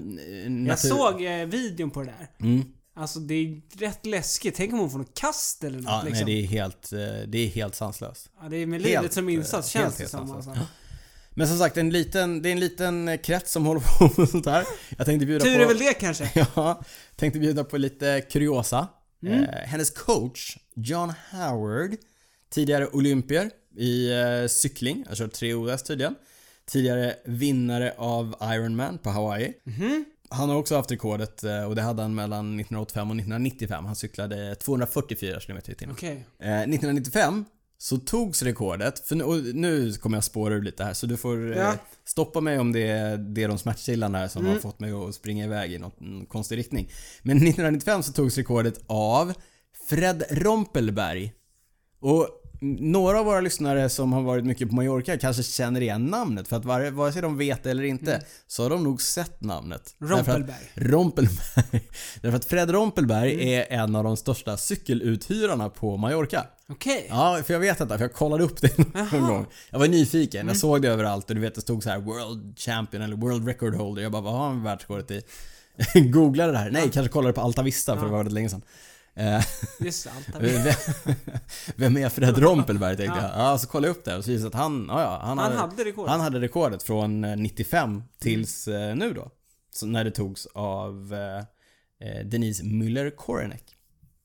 S1: natur-
S2: såg eh, videon på det där.
S1: Mm.
S2: Alltså det är rätt läskigt. Tänk om hon får något kast eller något
S1: Ja,
S2: liksom.
S1: nej, det är helt, eh, det är helt sanslöst.
S2: ja, det är med
S1: Helt,
S2: livet som insats
S1: eh,
S2: känns
S1: helt,
S2: det
S1: helt
S2: som.
S1: alltså.
S2: Alltså.
S1: Men som sagt, en liten, det är en liten krets som håller på med sånt här. Jag tänkte bjuda
S2: Tur
S1: på...
S2: är väl det kanske.
S1: Ja, tänkte bjuda på lite kuriosa. Eh, hennes coach, John Howard, tidigare olympier i eh, cykling, har kört tre OS tydligen. Tidigare vinnare av Ironman på Hawaii. Han har också haft rekordet eh, och det hade han mellan 1985 och 1995. Han cyklade 244 km i timmen.
S2: Okej.
S1: Eh, 1995 så togs rekordet, för nu, och nu kommer jag spåra ur lite här så du får eh,
S2: Ja.
S1: stoppa mig om det är, det är de smärtkillarna här som har fått mig att springa iväg i något mm, konstig riktning. Men 1995 så togs rekordet av Fred Rompelberg. Och mm, några av våra lyssnare som har varit mycket på Mallorca kanske känner igen namnet för att vare, vare sig de vet det eller inte så har de nog sett namnet. Därför att-
S2: Rompelberg.
S1: Rompelberg. Mm. Därför att Fred Rompelberg är en av de största cykeluthyrarna på Mallorca.
S2: Okej.
S1: Ja, för jag vet detta, för jag kollade upp det någon gång. Jag var nyfiken, jag såg det överallt och du vet det stod så här World Champion eller World Record Holder. Jag bara, vad har han världsrekordet i? Googlade det här. Nej, kanske kollade på Alta Vista för det var väldigt länge sedan. Eh,
S2: Just det, allt det.
S1: vem, vem är Fred Rompelberg tänkte jag. Ja, så kollade jag upp det och så visade det att han, ja, ja, han,
S2: Han hade rekordet.
S1: han hade rekordet från eh, 95 tills eh, nu då. Så när det togs av eh, eh, Denise Müller Korenek.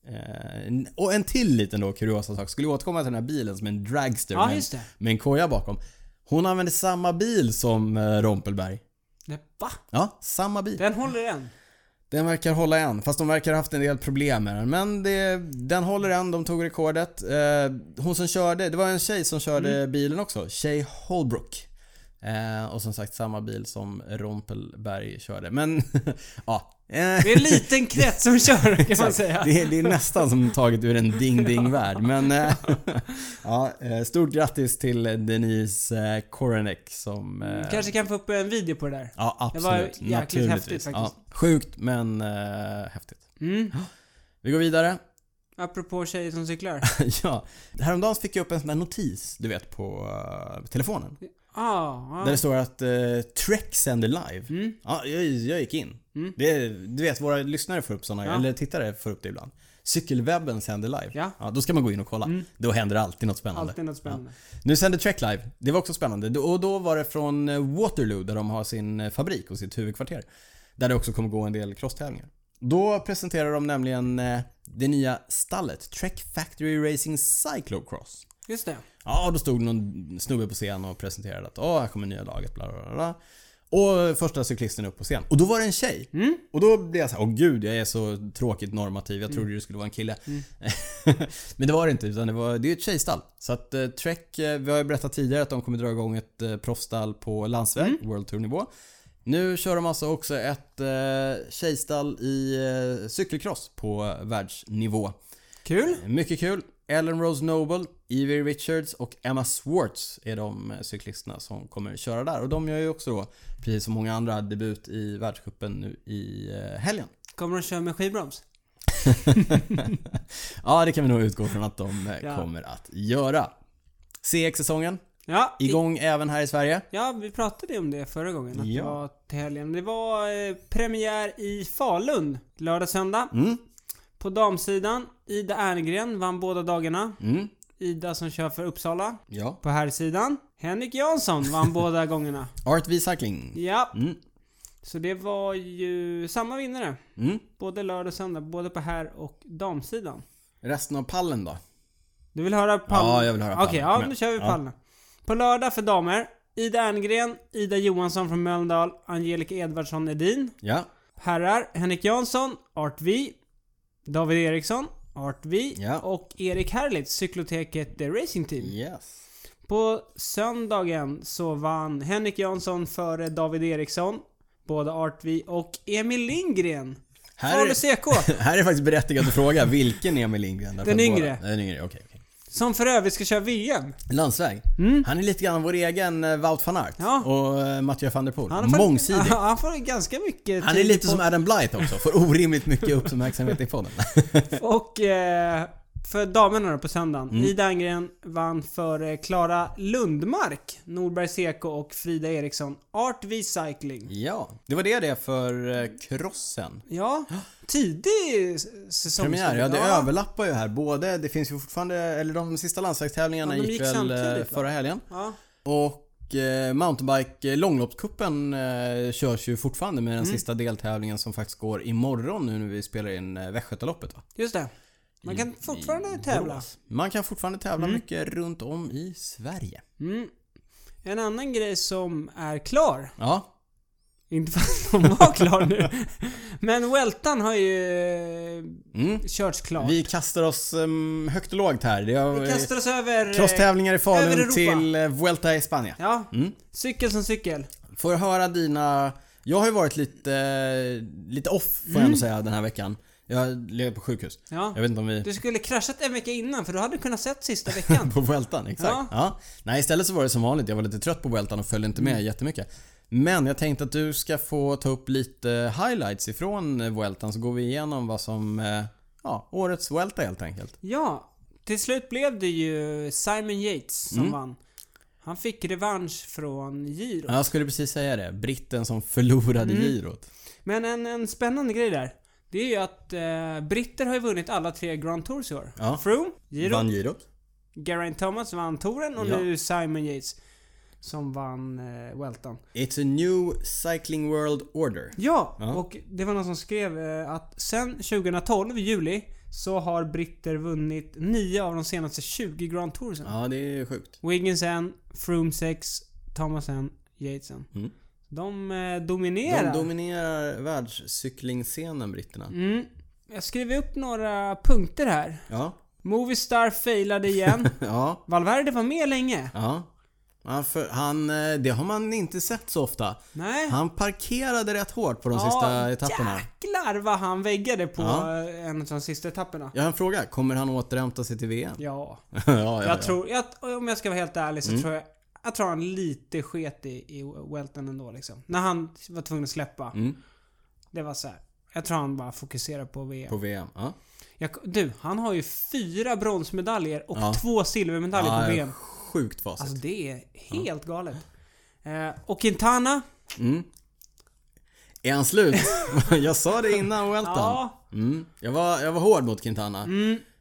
S1: Eh, n- och en till liten då kuriosa sak. Skulle återkomma till den här bilen som en dragster
S2: Ja,
S1: med, en-
S2: just det.
S1: med en koja bakom. Hon använde samma bil som eh, Rompelberg.
S2: Nej, va?
S1: Ja, samma bil.
S2: Den håller än.
S1: Den verkar hålla än, fast de verkar ha haft en del problem med den. Men det, den håller än, de tog rekordet. Eh, hon som körde, det var en tjej som körde
S2: Mm.
S1: bilen också, Shay Holbrook. Eh, och som sagt samma bil som Rompelberg körde. Men ja. Eh,
S2: Det är en liten krets som kör kan man säga.
S1: det, är, det är nästan som taget ur en ding-ding-värld. Men eh, ja, eh, stort grattis till Denise eh, Korenek som... eh,
S2: Kanske kan få upp en video på det där.
S1: Ja,
S2: Det
S1: absolut.
S2: var jäkligt
S1: Naturligtvis.
S2: häftigt faktiskt.
S1: Ja, sjukt men eh, häftigt.
S2: Mm.
S1: Vi går vidare.
S2: Apropå tjejer som cyklar.
S1: ja. Häromdagen fick jag upp en sån där notis, du vet, på eh, telefonen.
S2: Ah,
S1: Där
S2: ah.
S1: det står att uh, Trek sänder live.
S2: Mm.
S1: Ja, jag, jag gick in. Det, du vet, våra lyssnare får upp såna,
S2: Ja.
S1: eller tittare får upp det ibland. Cykelwebben sänder live.
S2: Ja. Mm.
S1: då ska man gå in och kolla. Då händer alltid något spännande.
S2: Alltid något spännande.
S1: Nu sände Trek live. Det var också spännande. Då- Och då var det från eh, Waterloo där de har sin eh, fabrik och sitt huvudkvarter. Där det också kommer gå en del crosstävlingar. Då presenterar de nämligen eh, det nya stallet Trek Factory Racing Cyclocross.
S2: Just det.
S1: Ja, då stod någon snubbe på scen och presenterade att åh, här kommer nya laget, bla bla bla. Och första cyklisten upp på scen. Och då var det en tjej. Och då blev jag så här, åh gud jag är så tråkigt normativ. Jag trodde det skulle vara en kille. Men det var det inte, utan det, var, det är ett tjejstall. Så att eh, Trek, eh, vi har ju berättat tidigare att de kommer dra igång ett eh, proffsstall på landsväg, World Tour nivå. Nu kör de alltså också ett eh, tjejstall i eh, cykelcross på världsnivå.
S2: Kul.
S1: Mycket kul. Ellen Rose Noble, Evie Richards och Emma Swartz är de eh, cyklisterna som kommer köra där. Och de gör ju också då, precis som många andra, debut i världscupen nu i eh, helgen.
S2: Kommer de köra med skivbroms?
S1: Ja, det kan vi nog utgå från att de eh,
S2: Ja.
S1: kommer att göra. CX-säsongen,
S2: Ja. i-
S1: igång även här i Sverige.
S2: Ja, vi pratade om det förra gången. Att
S1: Ja.
S2: det var till helgen. Det var eh, premiär i Falun lördag, söndag.
S1: Mm,
S2: På damsidan, Ida Erngren vann båda dagarna.
S1: mm,
S2: Ida som kör för Uppsala.
S1: ja.
S2: På herrsidan, Henrik Jansson vann båda gångerna.
S1: Art V-cycling.
S2: Ja,
S1: Mm,
S2: så det var ju samma vinnare.
S1: mm.
S2: Både lördag och söndag, både på herr och damsidan.
S1: Resten av pallen då?
S2: Du vill höra pallen?
S1: Ja, jag vill höra pallen.
S2: Okej,
S1: Kom
S2: ja,
S1: igen.
S2: nu kör vi
S1: Ja.
S2: pallen. På lördag för damer, Ida Erngren, Ida Johansson från Mölndal, Angelica Edvardsson Edin.
S1: Ja,
S2: Herrar, Henrik Jansson, Art V, David Eriksson, Art V
S1: Ja.
S2: och Erik Herlitz, cykloteket The Racing Team.
S1: yes.
S2: På söndagen så vann Henrik Jansson före David Eriksson, både Art V och Emil Lindgren. E
S1: Här
S2: Falu
S1: är,
S2: CK,
S1: här är faktiskt berättigad att fråga, vilken Emil Lindgren? Därför
S2: Den
S1: att
S2: yngre.
S1: Båda, den yngre, okej. okej.
S2: som för övrigt ska köra VM.
S1: Landsväg. Han är lite grann vår egen eh, Wout van Aert
S2: Mm. Ja.
S1: och eh, Mathieu van der Poel.
S2: Han har
S1: Mångsidig.
S2: Ja, han får ganska mycket
S1: Han är
S2: tid
S1: lite
S2: på-
S1: som Adam Blythe också, får orimligt mycket uppmärksamhet i podden.
S2: Och eh, för damerna då på söndagen.
S1: Mm.
S2: Ida Angren vann före Klara Lundmark, Norberg CK och Frida Eriksson, Art V Cycling.
S1: ja, det var det det för eh, crossen.
S2: Ja, tidig s- säsong.
S1: Premiär, ja det överlappar ju här. Både, det finns ju fortfarande, eller de sista landslagstävlingarna
S2: Ja, de
S1: gick,
S2: gick
S1: väl
S2: samtidigt,
S1: eh,
S2: va?
S1: förra helgen.
S2: Ja.
S1: Och eh, mountainbike eh, långloppscupen eh, körs ju fortfarande med den
S2: Mm.
S1: sista deltävlingen som faktiskt går imorgon nu när vi spelar in eh, Västgötaloppet va?
S2: Just det. Man kan fortfarande tävla.
S1: Man kan fortfarande tävla mycket runt om i Sverige.
S2: Mm. En annan grej som är klar,
S1: Ja,
S2: inte för att de var klar nu, men Weltan har ju eh,
S1: Mm.
S2: körts klart. Vi,
S1: Vi kastar oss um, högt och lågt här. Det har,
S2: kastar oss över... eh,
S1: crosstävlingar i
S2: över
S1: Falun
S2: Europa.
S1: till eh, Vuelta i Spanien.
S2: Ja,
S1: Mm.
S2: cykel som cykel.
S1: Får jag höra dina... Jag har ju varit lite, eh, lite off får jag
S2: Mm.
S1: nog säga den här veckan. Jag har legat på sjukhus.
S2: Ja.
S1: Jag vet inte om vi...
S2: Du skulle kraschat en vecka innan för då hade du kunnat sett sista veckan.
S1: På Vueltan, exakt.
S2: Ja.
S1: Ja. Nej, istället så var det som vanligt. Jag var lite trött på Vueltan och följde inte med
S2: Mm.
S1: jättemycket. Men jag tänkte att du ska få ta upp lite highlights ifrån eh, Vueltan så går vi igenom vad som... eh, Ja, årets Vuelta helt enkelt.
S2: ja, till slut blev det ju Simon Yates som vann. Han fick revansch från Giro.
S1: Ja, Jag skulle precis säga det. Britten som förlorade
S2: Mm.
S1: girot.
S2: Men en, en spännande grej där. Det är ju att eh, britter har ju vunnit alla tre Grand Tours i år.
S1: Ja.
S2: Froome, Giro,
S1: Vann girot.
S2: Geraint Thomas vann touren och
S1: Ja.
S2: nu Simon Yates som vann eh, Welton.
S1: It's a new cycling world order.
S2: Ja,
S1: Ja.
S2: och det var någon som skrev eh, att sen 2012, i juli, så har britter vunnit 9 av de senaste 20 Grand Toursen.
S1: Ja, det är sjukt.
S2: Wiggins en, Froome 6, Thomas en, Yates en.
S1: Mm.
S2: De eh,
S1: De
S2: dominerar.
S1: dominerar världscyklingscenen, britterna.
S2: mm. Jag skrev upp några punkter här.
S1: Ja.
S2: Movistar failade igen.
S1: Ja.
S2: Valverde var med länge.
S1: Ja. ja för han, eh, det har man inte sett så ofta.
S2: Nej.
S1: Han parkerade rätt hårt på de sista etapperna.
S2: jäklar vad han väggade på
S1: Ja.
S2: eh, en av de sista etapperna.
S1: Jag har en fråga. Kommer han återhämta sig till VM?
S2: Ja.
S1: ja, ja,
S2: Jag
S1: ja. Mm.
S2: tror, jag, om jag ska vara helt ärlig så tror jag, jag tror han lite sket i, i Welton ändå liksom. När han var tvungen att släppa.
S1: Mm.
S2: Det var så här. Jag tror han bara fokuserar på VM.
S1: På VM. Ja.
S2: Jag, du, han har ju fyra bronsmedaljer och
S1: Ja.
S2: två silvermedaljer
S1: Ja,
S2: på VM.
S1: Sjukt facit.
S2: Alltså det är helt galet. Eh, och Quintana.
S1: Mm. Är han slut? jag sa det innan Welton.
S2: Ja. Mm.
S1: Mm. Jag, var, jag var hård mot Quintana.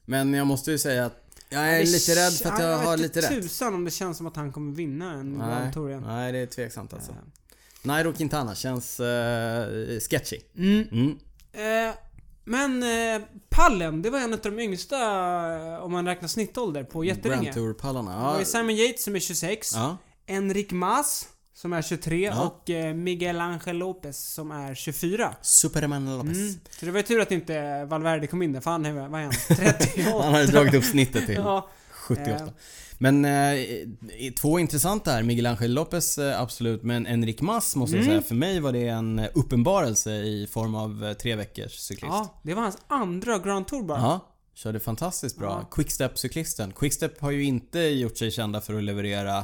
S1: Men jag måste ju säga att jag är lite rädd för att jag
S2: Ja,
S1: har
S2: vet
S1: lite rätt.
S2: tusan om det känns som att han kommer vinna en
S1: Nej,
S2: Grand Tour igen.
S1: nej, det är tveksamt alltså.
S2: Ja.
S1: Nairo Quintana känns eh, sketchy.
S2: Mm.
S1: Mm.
S2: Eh, men eh, pallen, det var en av de yngsta eh, om man räknar snittålder på
S1: Grand
S2: jättelänge.
S1: Tour-pallarna.
S2: Det var
S1: Ja.
S2: ju Simon Yates som är 26.
S1: Ja.
S2: Enrik Mas Som är 23
S1: Ja.
S2: och eh, Miguel Angel Lopez som är 24.
S1: Superman Lopez.
S2: Mm. Så det var ju tur att inte Valverde kom in där, för han är, vad är han? 38?
S1: Han hade dragit upp snittet till
S2: ja.
S1: 78.
S2: Eh.
S1: Men eh, i- två intressanta här. Miguel Angel Lopez eh, absolut, men Enric Mas måste
S2: Mm.
S1: jag säga. För mig var det en uppenbarelse i form av eh, tre veckors cyklist. Ja.
S2: ja, det var hans andra Grand Tour bara.
S1: körde fantastiskt bra.
S2: Ja.
S1: Quickstep-cyklisten. Quickstep har ju inte gjort sig kända för att leverera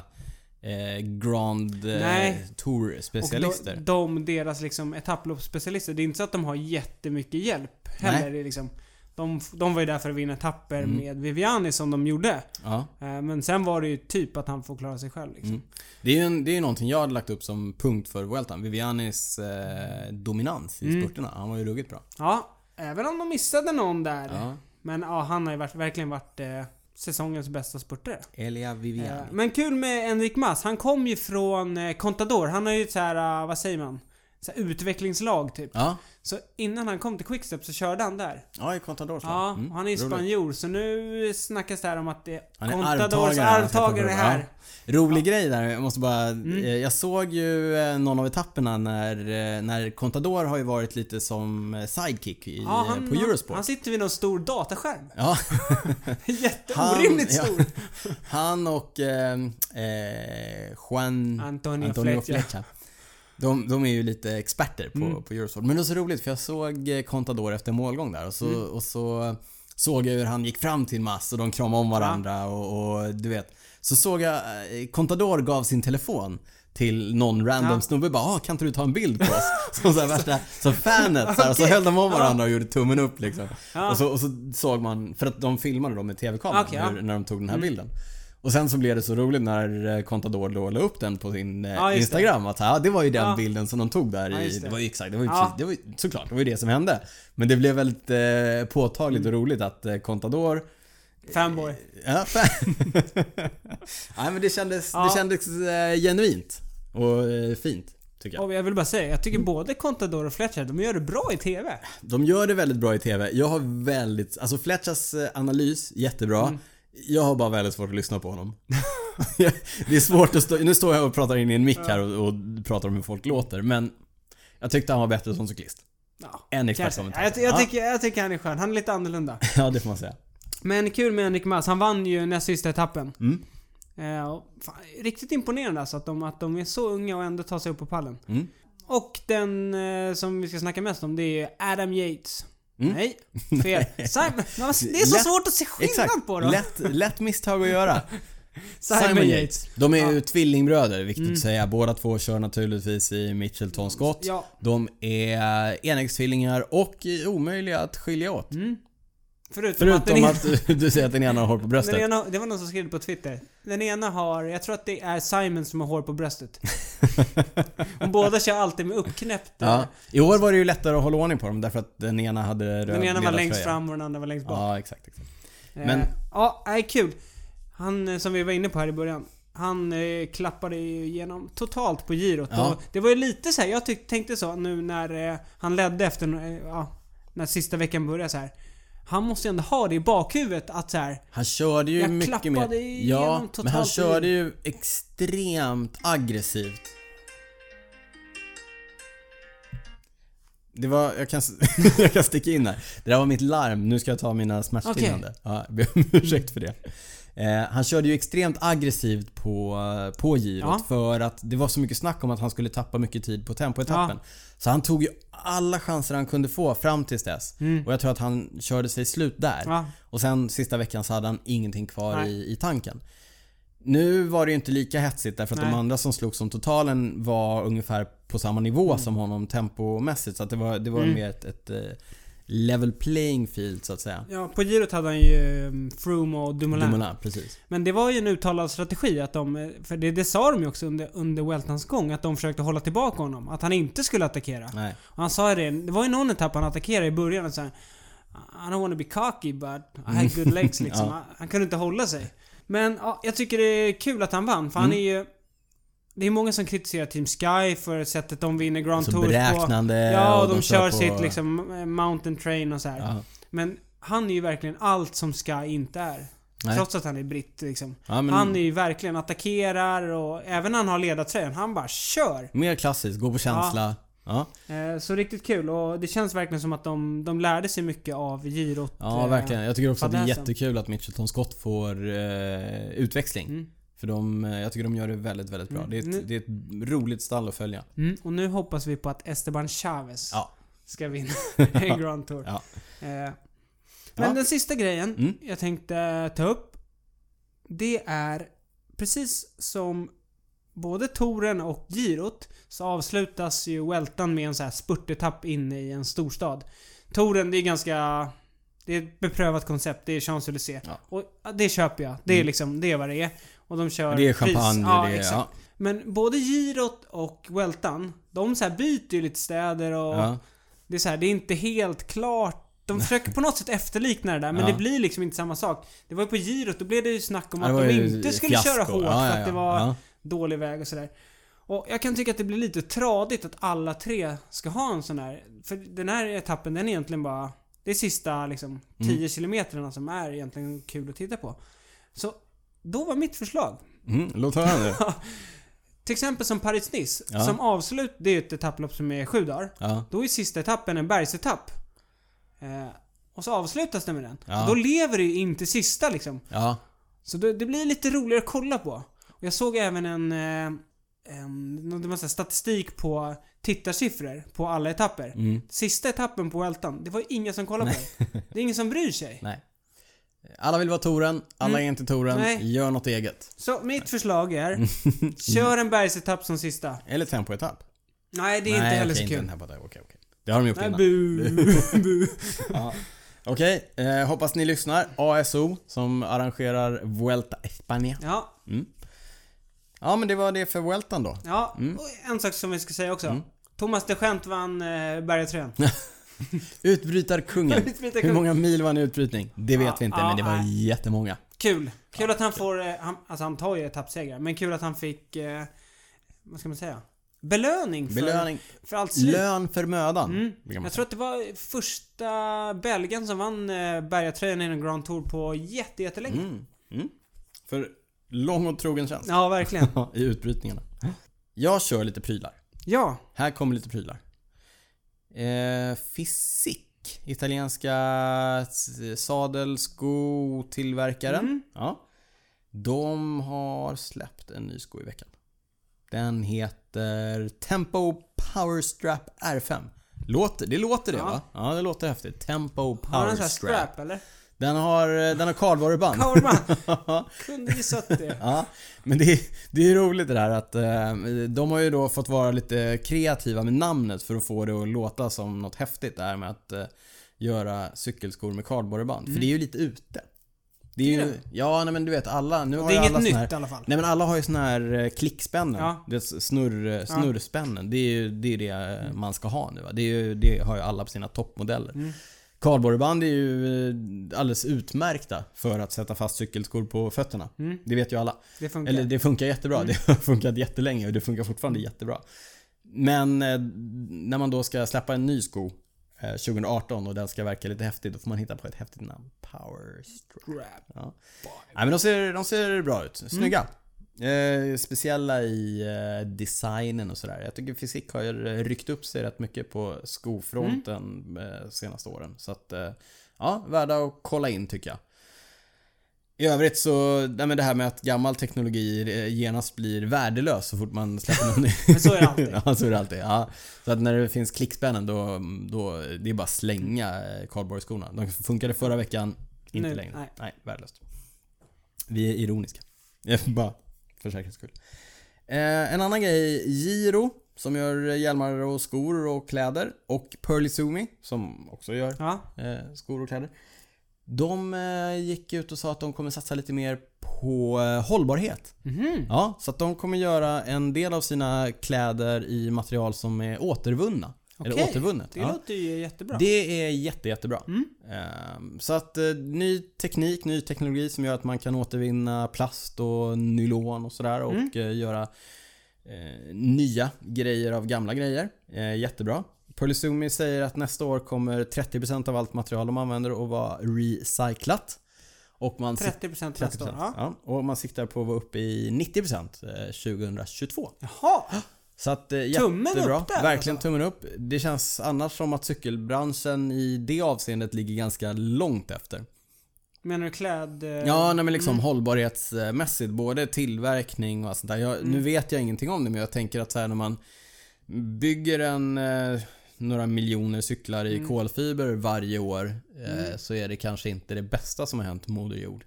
S1: eh, Grand eh,
S2: Nej. Och
S1: Tour-specialister.
S2: de, de, deras liksom etapploppsspecialister, det är inte så att de har jättemycket hjälp heller.
S1: Nej. Mm.
S2: Det är liksom, de, de var ju där för att vinna etapper med Viviani som de gjorde.
S1: Ja.
S2: Eh, Men sen var det ju typ att han får klara sig själv
S1: Mm.
S2: liksom.
S1: Det är ju en, det är ju någonting jag hade lagt upp som punkt för Vueltan. Vivianis eh, dominans i
S2: Mm.
S1: spurterna. Han var ju ruggigt bra.
S2: Ja, även om de missade någon där.
S1: Ja.
S2: Men ja, han har ju varit, verkligen varit eh, säsongens bästa spurtare.
S1: Elia
S2: Eh,
S1: Viviani.
S2: Men kul med Enrik Mas. Han kom ju från eh, Contador. Han har ju ett så här, eh, vad säger man? Så här utvecklingslag typ.
S1: Ja.
S2: Så innan han kom till Quickstep så körde han där.
S1: Ja, i Contador så.
S2: Ja,
S1: Mm,
S2: och han är ju
S1: roligt.
S2: spanjor så nu snackas det här om att det är
S1: Han är
S2: Contadors
S1: arvtagare. han ska få
S2: arvtagare
S1: bro-
S2: här. Mm.
S1: Ja. Rolig grej där. Jag måste bara... eh, Jag såg ju eh, någon av etapperna när, eh, när Contador har ju varit lite som eh, sidekick i,
S2: Ja,
S1: eh,
S2: han,
S1: på Eurosport.
S2: han sitter vid någon stor dataskärm.
S1: ja.
S2: Jätteorimligt
S1: Han- ja.
S2: stor.
S1: Han och eh, eh, Juan
S2: Antonio Fletcher. Mm.
S1: Fletcher. De, de är ju lite experter på, på Eurosport. Men det var så roligt för jag såg eh, Contador efter målgång där och så,
S2: Mm.
S1: och så såg jag hur han gick fram till Mass och de kramade om varandra och, och du vet. Så såg jag eh, Contador gav sin telefon till någon random
S2: Ja.
S1: snubbe bara ah, kan inte du ta en bild på oss? Som så här värsta, som fanet så här, och så höll de om varandra och gjorde tummen upp liksom.
S2: Ja.
S1: Och, så, och så såg man, för att de filmade då med TV-kameran
S2: Okej, ja. Mm.
S1: hur, när de tog den här bilden. Och sen så blev det så roligt när eh, Contador då la upp den på sin eh,
S2: Ja, just det.
S1: Instagram. Att ja, det var ju den
S2: Ja.
S1: bilden som de tog där
S2: Ja,
S1: i...
S2: just
S1: Det.
S2: det.
S1: var ju exakt, det var ju
S2: Ja.
S1: precis, det var, ju- såklart, det var ju det som hände. Men det blev väldigt eh, påtagligt
S2: Mm.
S1: och roligt att eh, Contador...
S2: Fanboy.
S1: Ja, fan. Nej men det kändes,
S2: Ja.
S1: det kändes eh, genuint. Och eh, fint, tycker jag.
S2: Och jag vill bara säga, jag tycker både Contador och Fletcher, de gör det bra i TV.
S1: De gör det väldigt bra i TV. Jag har väldigt... Alltså Fletchers eh, analys, jättebra.
S2: Mm.
S1: Jag har bara väldigt svårt att lyssna på honom. det är svårt att stå... Nu står jag och pratar in i en mick här och, och pratar om hur folk låter, men... Jag tyckte han var bättre som cyklist.
S2: Ja,
S1: En
S2: kanske.
S1: expertkommentar.
S2: Ja, Jag, ty- jag,
S1: ja,
S2: tycker, jag tycker han är skön. Han är lite annorlunda.
S1: ja, det får man säga.
S2: Men kul med Henrik Mas. Han vann ju näst sista etappen.
S1: Mm.
S2: Eh, och fan, riktigt imponerande alltså att de, att de är så unga och ändå tar sig upp på pallen.
S1: Mm.
S2: Och den eh, som vi ska snacka mest om det är Adam Yates.
S1: Mm.
S2: Nej, fel. Simon, det är så
S1: Lätt-
S2: svårt att se skillnad
S1: Exakt.
S2: på dem.
S1: Lätt, lätt misstag att göra.
S2: Simon Yates.
S1: De är ju
S2: Ja. Mm.
S1: tvillingbröder, viktigt att säga. Båda två kör naturligtvis i Mitchelton Scott.
S2: Ja.
S1: De är enäggstvillingar och omöjliga att skilja åt.
S2: mm. Förutom, att, den
S1: Förutom
S2: ena,
S1: att du säger att den ena har hår på
S2: den
S1: bröstet.
S2: ena, det var någon som skrev det på Twitter. Den ena har, jag tror att det är Simon som har hår på bröstet. Och båda kör alltid med uppknäppt.
S1: Ja. I år var det ju lättare att hålla ordning på dem därför att den ena hade röd
S2: Den ena var längst
S1: ledartröja.
S2: fram och den andra var längst bak.
S1: Ja, exakt. exakt. Men-
S2: Men... Eh, Ja, nej, kul. Han eh, som vi var inne på här i början. Han eh, klappade ju igenom totalt på girot.
S1: Ja.
S2: Och det var ju lite så här, jag tyck, tänkte så nu när eh, han ledde efter, eh, ja, när sista veckan började så här. Han måste ju ändå ha det i bakhuvudet att så här,
S1: Han körde ju
S2: Jag
S1: mycket
S2: klappade
S1: mer...
S2: igenom
S1: Ja, men han
S2: totalt
S1: körde ju extremt aggressivt. Det var, jag kan, jag kan sticka in här. Det där var mitt larm, nu ska jag ta mina smärtstillande. Ja, jag ber om ursäkt för det. Eh, han körde ju extremt aggressivt på, på girot
S2: Ja.
S1: för att det var så mycket snack om att han skulle tappa mycket tid på tempoetappen. Så han tog ju alla chanser han kunde få fram tills dess. Och jag tror att han körde sig slut där.
S2: Mm. Ja.
S1: Och sen sista veckan så hade han ingenting kvar
S2: Nej.
S1: i, i tanken. Nu var det ju inte lika hetsigt därför att de
S2: Nej.
S1: andra som slogs om totalen var ungefär på samma nivå
S2: Mm.
S1: som honom tempomässigt. Så att det var, det var mer ett, ett eh, level playing field så att säga.
S2: ja, på girot hade han ju mm, Froome och Dumoulin.
S1: Dumoulin, precis.
S2: Men det var ju en uttalad strategi att de, eh, för det, det sa de ju också under, under Weltans gång, att de försökte hålla tillbaka honom. Att han inte skulle attackera.
S1: Nej.
S2: Och Han sa det, det var ju någon etapp han attackerade i början och sa I don't wanna be cocky but I had good legs liksom.
S1: Mm. Ja.
S2: han, han kunde inte hålla sig. Men ja, jag tycker det är kul att han vann för
S1: Mm.
S2: han är ju... Det är många som kritiserar Team Sky för sättet de vinner Grand
S1: Så
S2: Tours på.
S1: beräknande
S2: Ja, och
S1: och
S2: de, kör
S1: på-
S2: sitt liksom eh, mountain train och så här.
S1: Ja.
S2: Men han är ju verkligen allt som Sky inte är.
S1: Nej.
S2: Trots att han är britt liksom.
S1: Ja, men-
S2: Han är ju verkligen attackerar och även när han har ledartröjan, han bara kör!
S1: Mer klassiskt, gå på känsla. Ja,
S2: Eh, så riktigt kul och det känns verkligen som att de, de lärde sig mycket av girot.
S1: ja
S2: eh,
S1: verkligen. Jag tycker också att det är
S2: fadäsen.
S1: jättekul att Mitchelton Scott får eh, utväxling.
S2: Mm.
S1: För de, eh, jag tycker de gör det väldigt, väldigt bra.
S2: Mm.
S1: Det, är
S2: Nu-
S1: ett, det är ett roligt stall att följa.
S2: Mm, och nu hoppas vi på att Esteban Chavez
S1: Ja.
S2: ska vinna en Grand Tour.
S1: Ja.
S2: Eh, men
S1: Ja.
S2: den sista grejen
S1: Mm.
S2: jag tänkte ta upp. Det är precis som både touren och girot så avslutas ju Weltan med en så här spurtetapp inne i en storstad. Touren, det är ganska... Det är ett beprövat koncept. Det är Champs-Élysées.
S1: Ja. Mm.
S2: Och ja, det köper jag. Det är liksom, det är vad det är. Och de kör
S1: Det är
S2: pris-
S1: champagne,
S2: Ja,
S1: det är...
S2: exakt.
S1: Ja.
S2: Men både girot och Weltan, de så här byter ju lite städer och...
S1: Ja.
S2: Det är så här, det är inte helt klart. De försöker på något sätt efterlikna det där, men
S1: Ja.
S2: det blir liksom inte samma sak. Det var ju på girot, då blev det ju snack om
S1: Ja, det
S2: att
S1: var
S2: de
S1: ju
S2: inte skulle
S1: fiasko.
S2: köra hårt
S1: Ja,
S2: för
S1: ja,
S2: att det
S1: ja.
S2: var
S1: Ja.
S2: dålig väg och sådär. Och jag kan tycka att det blir lite tradigt att alla tre ska ha en sån här. För den här etappen, den är egentligen bara... Det är sista liksom
S1: Mm.
S2: 10 kilometrarna som är egentligen kul att titta på. Så då var mitt förslag.
S1: Mm, låt höra nu.
S2: Till exempel som Paris-Nice,
S1: Ja.
S2: som avslut, det är ju ett etapplopp som är sju dagar.
S1: Ja.
S2: Då är sista etappen en bergsetapp. Eh, och så avslutas den med den.
S1: Ja.
S2: Och då lever det ju inte sista liksom.
S1: Ja.
S2: Så det, det blir lite roligare att kolla på. Och jag såg även en... Eh, en någon massa statistik på tittarsiffror på alla etapper.
S1: Mm.
S2: Sista etappen på Weltan, det var ju ingen som kollade på det. Det är ingen som bryr sig.
S1: Nej. Alla vill vara Toren, alla är inte Toren.
S2: Mm. Nej.
S1: Gör något eget.
S2: Så mitt förslag är,
S1: Mm.
S2: kör en bergsetapp som sista.
S1: Eller tempoetapp.
S2: Nej, det är
S1: Nej,
S2: inte heller
S1: okej,
S2: så
S1: inte en
S2: kul.
S1: tempoetapp. Okej, okej. Det har de gjort
S2: Nej,
S1: innan.
S2: bu, bu.
S1: Ja. Okej, eh, hoppas ni lyssnar. ASO som arrangerar Vuelta España.
S2: Ja,
S1: Ja men det var det för Vueltan då.
S2: Ja, och en sak som vi ska säga också.
S1: Mm.
S2: Thomas de Gent vann eh, bergatrön.
S1: Utbrytarkungen.
S2: Utbrytarkungen.
S1: Hur många mil var han i utbrytning? Det vet
S2: Ja,
S1: vi inte
S2: ja,
S1: men det var
S2: nej.
S1: jättemånga.
S2: Kul! Kul att han får... Eh, han, alltså han tar ju etappsegrar, men kul att han fick... Eh, vad ska man säga? Belöning för,
S1: Belöning.
S2: för allt slit.
S1: Lön för mödan. brukar man
S2: Jag
S1: säga.
S2: tror att det var första belgaren som vann eh, bergatröjan i en Grand Tour på jätte, jättelänge.
S1: Mm. För lång och trogen tjänst.
S2: Ja, verkligen.
S1: I utbrytningarna. Jag kör lite prylar.
S2: Ja.
S1: Här kommer lite prylar. Eh, Fisic, italienska s- sadelskotillverkaren.
S2: Mm.
S1: Ja. De har släppt en ny sko i veckan. Den heter Tempo Power Strap R5. Låter, det låter det
S2: Ja.
S1: va? Ja, det låter häftigt. Tempo Power
S2: Har han sån här
S1: Strap.
S2: strap eller?
S1: Den har, eh, den har kardborreband.
S2: Korma! Kunde gissat det.
S1: Ja, men det är, det är roligt det där att eh, de har ju då fått vara lite kreativa med namnet för att få det att låta som något häftigt det här med att eh, göra cykelskor med kardborreband. För det är ju lite ute. Det är
S2: Mm. Det är
S1: ju, ja nej, men du vet alla, nu har
S2: Det
S1: ju
S2: är
S1: alla
S2: inget
S1: såna
S2: nytt
S1: här,
S2: i alla fall.
S1: Nej men alla har ju såna här eh, klickspännen.
S2: Ja. Mm.
S1: Det är s- snurr, eh, snurrspännen. Det är ju det, är det eh, man ska ha nu va? Det, är ju, det har ju alla på sina toppmodeller. Kardborreband är ju eh, alldeles utmärkta för att sätta fast cykelskor på fötterna.
S2: Mm.
S1: Det vet ju alla.
S2: Det funkar.
S1: Eller det funkar jättebra. Det har funkat jättelänge och det funkar fortfarande jättebra. Men eh, när man då ska släppa en ny sko eh, 2018 och den ska verka lite häftig, då får man hitta på ett häftigt namn. Power Strap.
S2: Strap.
S1: Ja. Nej, men de ser, de ser bra ut. Snygga. Eh, speciella i eh, designen och sådär. Jag tycker fysik har ju ryckt upp sig rätt mycket på skofronten eh, senaste åren. Så att, eh, ja, värda att kolla in tycker jag. I övrigt så, nej men det här med att gammal teknologi eh, genast blir värdelös så fort man släpper någon ny.
S2: Men så är det alltid.
S1: ja, så är det alltid. Ja. Så att när det finns klickspännen då, då det är bara att slänga eh, kardborreskorna. De funkade förra veckan, inte
S2: Nu,
S1: längre.
S2: nej.
S1: Nej. värdelöst. Vi är ironiska. Jag bara för säkerhets skull. Eh, en annan grej, Giro som gör hjälmar och skor och kläder och Pearly Sumi som också gör
S2: Ja.
S1: eh, skor och kläder. De eh, gick ut och sa att de kommer satsa lite mer på eh, hållbarhet.
S2: Mhm. Mm.
S1: Ja, så att de kommer göra en del av sina kläder i material som är återvunna. Eller
S2: Okej,
S1: återvunnet.
S2: Det
S1: ja.
S2: låter ju jättebra.
S1: Det är jätte, jättebra. Ehm, Så att eh, ny teknik, ny teknologi som gör att man kan återvinna plast och nylon och sådär och eh, göra eh, nya grejer av gamla grejer. Eh, jättebra. Polysumi säger att nästa år kommer 30% av allt material de använder att vara recyclat. Och man siktar
S2: 30%
S1: 30%.
S2: nästa år. Ja.
S1: Ja, och man siktar på att vara uppe i 90% eh, 2022.
S2: Jaha!
S1: Så att eh,
S2: Tummen upp
S1: jättebra.
S2: där,
S1: Verkligen
S2: alltså.
S1: tummen upp. Det känns annars som att cykelbranschen i det avseendet ligger ganska långt efter.
S2: Eh, Menar du kläd... eh,
S1: Ja, nej, men liksom hållbarhetsmässigt. Både tillverkning och allt sånt där. Jag,
S2: Mm.
S1: Nu vet jag ingenting om det men jag tänker att så här när man bygger en eh, några miljoner cyklar
S2: Mm.
S1: i kolfiber varje år eh, så är det kanske inte det bästa som har hänt Moder Jord.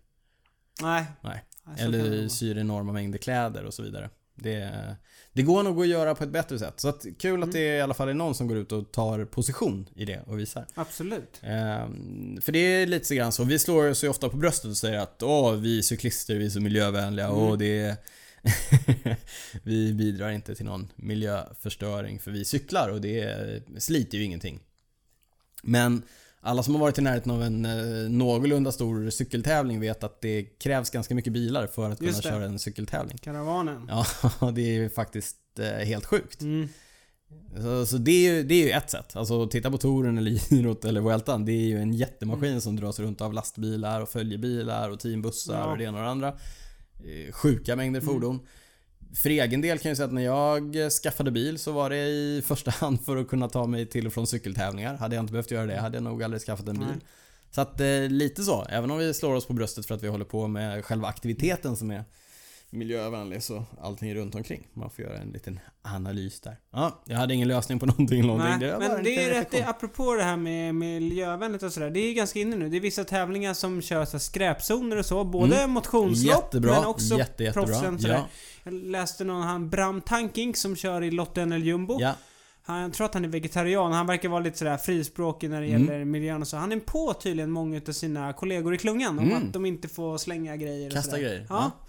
S2: Nej.
S1: Nej.
S2: Nej, så kan det
S1: Eller
S2: vara.
S1: syr enorma mängder kläder och så vidare. Det, det går nog att göra på ett bättre sätt. Så att, kul
S2: Mm.
S1: att det i alla fall är någon som går ut och tar position i det och visar.
S2: Absolut.
S1: Ehm, för det är lite så grann så. Vi slår oss ju ofta på bröstet och säger att åh, vi cyklister, vi är så miljövänliga
S2: Mm.
S1: och det är Vi bidrar inte till någon miljöförstöring för vi cyklar och det eh, sliter ju ingenting. Men alla som har varit i närheten av en eh, någorlunda stor cykeltävling vet att det krävs ganska mycket bilar för att kunna
S2: Just det.
S1: köra en cykeltävling.
S2: Karavanen.
S1: Ja, det är ju faktiskt eh, helt sjukt.
S2: Mm.
S1: Så, så det, är ju, det är ju ett sätt. Alltså titta på touren eller girot eller vueltan. Det är ju en jättemaskin
S2: Mm.
S1: som dras runt av lastbilar och följebilar och teambussar
S2: Ja. Mm.
S1: och det ena och det andra. Eh, Sjuka mängder fordon. För egen del kan jag säga att när jag skaffade bil så var det i första hand för att kunna ta mig till och från cykeltävlingar. Hade jag inte behövt göra det hade jag nog aldrig skaffat en bil.
S2: Nej.
S1: Så att eh, lite så. Även om vi slår oss på bröstet för att vi håller på med själva aktiviteten som är miljövänlig så allting runt omkring. Man får göra en liten analys där. Ja, jag hade ingen lösning på någonting. någonting.
S2: Nej,
S1: var bara
S2: men
S1: en
S2: det är
S1: liten
S2: ju rätt,
S1: reflektion.
S2: det, apropå det här med miljövänligt och sådär. Det är ju ganska inne nu. Det är vissa tävlingar som kör så här skräpzoner och så. Både motionslopp
S1: Mm. Jättebra,
S2: men också
S1: jätte, jättebra.
S2: proffsen sådär.
S1: Ja.
S2: Jag läste någon, han Bram Tankink som kör i Lotte NL Jumbo.
S1: Ja,
S2: Han, jag tror att han är vegetarian. Han verkar vara lite sådär frispråkig när det
S1: Mm.
S2: gäller miljön och så. Han är på tydligen många av sina kollegor i klungan om
S1: Mm.
S2: att de inte får slänga grejer och
S1: Kasta
S2: sådär.
S1: grejer,
S2: Ja.
S1: ja.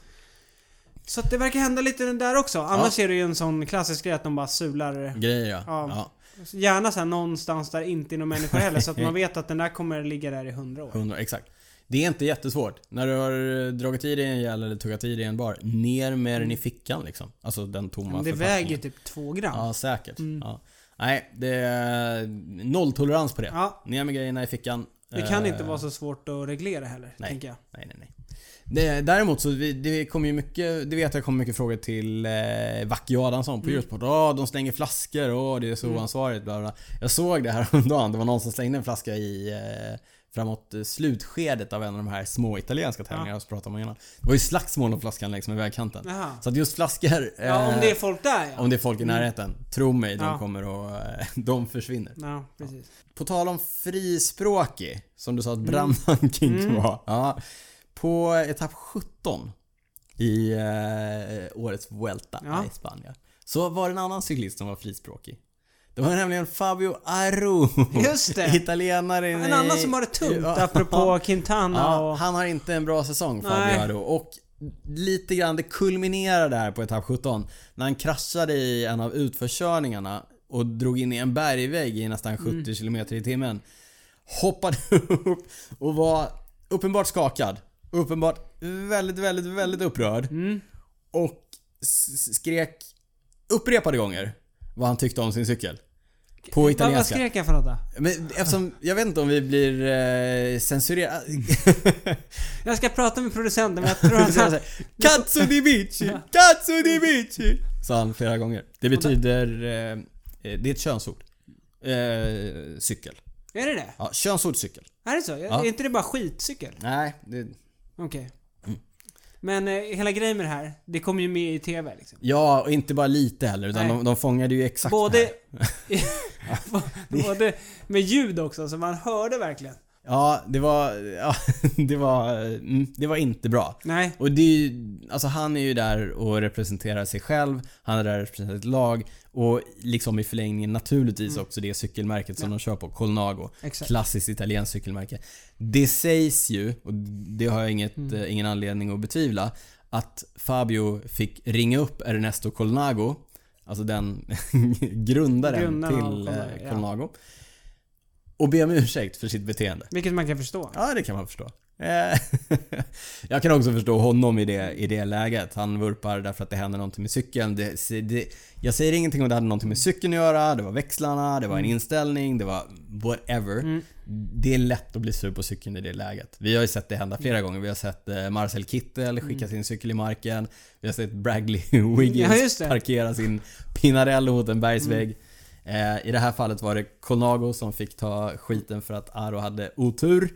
S2: Så att det verkar hända lite där också. Annars är det ju en sån klassisk grej att de bara sular
S1: grejer ja.
S2: Ja.
S1: ja.
S2: Gärna så här någonstans där inte är någon människa heller så att man vet att den där kommer ligga där i hundra år.
S1: 100, exakt. Det är inte jättesvårt. När du har dragit i dig en gel eller tuggat i dig en bar, ner med den i fickan liksom. Alltså den tomma
S2: Men det
S1: förpackningen.
S2: väger ju Mm. typ två gram.
S1: Ja, säkert. Ja. Nej, det är nolltolerans på det.
S2: Ja.
S1: Ner med grejerna i fickan.
S2: Det kan
S1: Eh,
S2: inte vara så svårt att reglera heller,
S1: nej.
S2: tänker jag.
S1: Nej, nej, nej. Det, däremot så vi, det kommer ju mycket, det vet jag kommer mycket frågor till eh, Vacke Adamsson
S2: Mm.
S1: på Eurosport. Åh, de slänger flaskor, åh det är så oansvarigt. Bla, bla. Jag såg det här om dagen. det var någon som slängde en flaska i eh, framåt eh, slutskedet av en av de här små italienska tävlingarna som pratade om innan. Det var ju slagsmål om flaskan längs med vägkanten.
S2: Jaha.
S1: Så att just flaskor...
S2: Ja, om det
S1: eh,
S2: är folk där ja.
S1: om det är folk i närheten, tro mig, de
S2: Ja.
S1: kommer och eh, de försvinner.
S2: Ja, precis.
S1: På tal om frispråkig, som du sa att
S2: Mm.
S1: Brandan King var. Ja, på etapp 17 i eh, årets Vuelta
S2: Ja.
S1: i Spanien så var det en annan cyklist som var frispråkig. Det var nämligen Fabio Aru.
S2: Just det.
S1: Italienare
S2: En annan som har det tungt, apropå Quintana
S1: Ja,
S2: och...
S1: han har inte en bra säsong
S2: Nej.
S1: Fabio Aru och lite grann, det kulminerade här på etapp 17 när han kraschade i en av utförskörningarna och drog in i en bergvägg i nästan 70
S2: Mm.
S1: km i timmen. Hoppade upp och var uppenbart skakad. Uppenbart väldigt, väldigt, väldigt upprörd.
S2: Mm.
S1: Och s- skrek upprepade gånger vad han tyckte om sin cykel. På
S2: Vad, vad
S1: italienska.
S2: skrek jag för något då?
S1: Men eftersom, jag vet inte om vi blir eh, censurerade.
S2: Jag ska prata med producenten men jag tror att han...
S1: Katsu di bici, katsu di bici. Sa han flera gånger. Det betyder... Eh, det är ett könsord. Eh, cykel.
S2: Är det det?
S1: Ja, könsord cykel.
S2: Är det så?
S1: Ja.
S2: Är inte det bara skitcykel?
S1: Nej, det,
S2: Okej.
S1: Mm.
S2: Men eh, hela grejen med det här, det kommer ju med i TV liksom.
S1: Ja, och inte bara lite heller utan
S2: Nej.
S1: de, de fångade ju exakt det här.
S2: Både... både med ljud också, så man hörde verkligen.
S1: Ja, det var... Ja, det var... mm, Det var inte bra.
S2: Nej.
S1: Och det är ju, alltså han är ju där och representerar sig själv, han är där och representerar ett lag och liksom i förlängningen naturligtvis också det cykelmärket som de kör på, Colnago.
S2: Mm. Exakt.
S1: Klassiskt italienskt cykelmärke. Det sägs ju, och det har jag inget,
S2: Mm.
S1: eh, ingen anledning att betvivla, att Fabio fick ringa upp Ernesto Colnago, alltså den grundaren
S2: Grundaren av
S1: till eh,
S2: Colnago, ja.
S1: Colnago. och be om ursäkt för sitt beteende.
S2: Vilket man kan förstå.
S1: Ja, det kan man förstå. Eh, Jag kan också förstå honom i det, i det läget. Han vurpar därför att det händer någonting med cykeln. Det, det, jag säger ingenting om det hade någonting med cykeln att göra. Det var växlarna, det var en
S2: Mm.
S1: inställning, det var whatever. Det är lätt att bli sur på cykeln i det läget. Vi har ju sett det hända flera
S2: Mm.
S1: gånger. Vi har sett eh, Marcel Kittel skicka sin cykel i marken. Vi har sett Bradley Wiggins
S2: Ja, just det.
S1: parkera sin Pinarello mot en bergsvägg. Eh, I det här fallet var det Colnago som fick ta skiten för att Aro hade otur.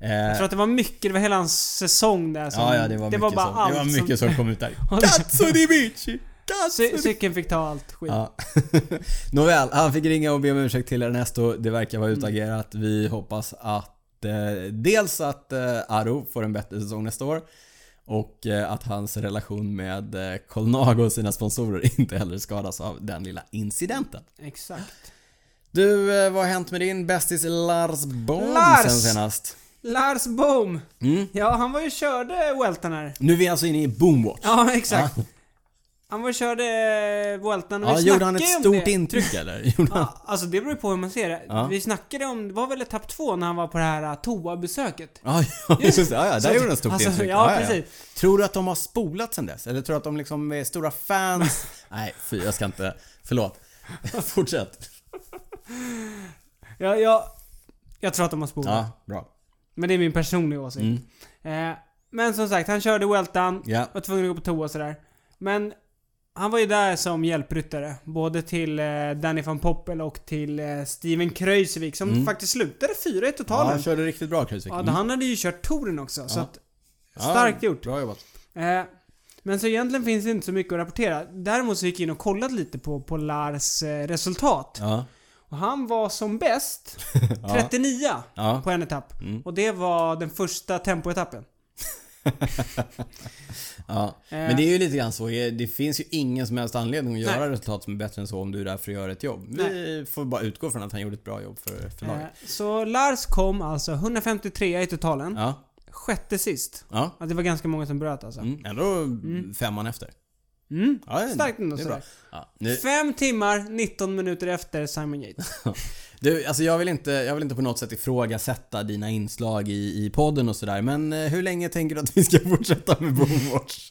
S1: Eh,
S2: Jag tror att det var mycket, det var hela hans säsong där som,
S1: ja, ja, det var mycket,
S2: bara
S1: som,
S2: allt
S1: det var mycket som kom ut där.
S2: Ja, det-
S1: Katsu di bici!
S2: Cy-
S1: Katsu di...
S2: Cykeln fick ta allt skit.
S1: Ja. Nåväl, han fick ringa och be om ursäkt till Ernesto. Det verkar
S2: Mm.
S1: vara utagerat. Vi hoppas att eh, dels att eh, Aro får en bättre säsong nästa år och eh, att hans relation med eh, Colnago och sina sponsorer inte heller skadas av den lilla incidenten.
S2: Exakt.
S1: Du, eh, vad har hänt med din bästis Lars Bohm
S2: Lars!
S1: sen senast?
S2: Lars Bohm.
S1: Mm.
S2: Ja, han var ju och körde Weltan här.
S1: Nu är vi alltså inne i Boomwatch.
S2: Ja, exakt. Han var och körde eh, Weltan och
S1: Ja,
S2: vi
S1: gjorde han ett
S2: snackade ju om
S1: stort
S2: det.
S1: intryck eller? Gjorde han?
S2: Ja, alltså det beror ju på hur man ser det.
S1: Ja.
S2: Vi snackade om, det var väl etapp två när han var på det här eh, toabesöket.
S1: Ja, ja, just det. Ja, ja,
S2: Så
S1: där
S2: att-
S1: gjorde de stort
S2: alltså,
S1: intryck.
S2: ja, precis.
S1: Tror du att de har spolat sen dess? Eller tror du att de liksom är stora fans? Nej, fy, jag ska inte. Förlåt. Fortsätt.
S2: Jag, jag, jag tror att de har spolat.
S1: Ja, Mm. bra.
S2: Men det är min personliga åsikt. Eh, men som sagt, han körde Weltan.
S1: Ja.
S2: Var tvungen att gå på toa och sådär. Men han var ju där som hjälpryttare. Både till eh, Danny van Poppel och till eh, Steven Kreutzwijk som faktiskt slutade fyra i
S1: Mm. Ja,
S2: totalen.
S1: han körde riktigt bra Krusvik.
S2: Ja, han hade ju kört touren också. Så
S1: Ja.
S2: att, starkt gjort.
S1: Bra jobbat.
S2: Eh, men så egentligen finns det inte så mycket att rapportera. Däremot så gick jag in och kollat lite på, på Lars eh, resultat.
S1: Ja.
S2: Och han var som bäst
S1: Ja.
S2: 39
S1: Ja.
S2: på en etapp.
S1: Mm.
S2: Och det var den första tempoetappen. Eh.
S1: ja. Men det är ju lite grann så. eh, Det finns ju ingen som helst anledning att göra resultat som är bättre än så om du är där för att göra ett jobb. Vi får bara utgå från att han gjorde ett bra jobb för, för
S2: Eh,
S1: laget.
S2: så Lars kom alltså 153 i totalen.
S1: Ja.
S2: Sjätte sist.
S1: Ja.
S2: Ja, det var ganska många som bröt alltså.
S1: Mm. Ändå femman efter.
S2: Mm.
S1: Ja,
S2: Starkt ändå
S1: det är bra.
S2: sådär.
S1: Ja. Nu,
S2: Fem timmar, 19 minuter efter Simon Yates.
S1: Du, alltså jag vill, inte, jag vill inte på något sätt ifrågasätta dina inslag i, i podden och sådär, men eh, hur länge tänker du att vi ska fortsätta med Boomwatch?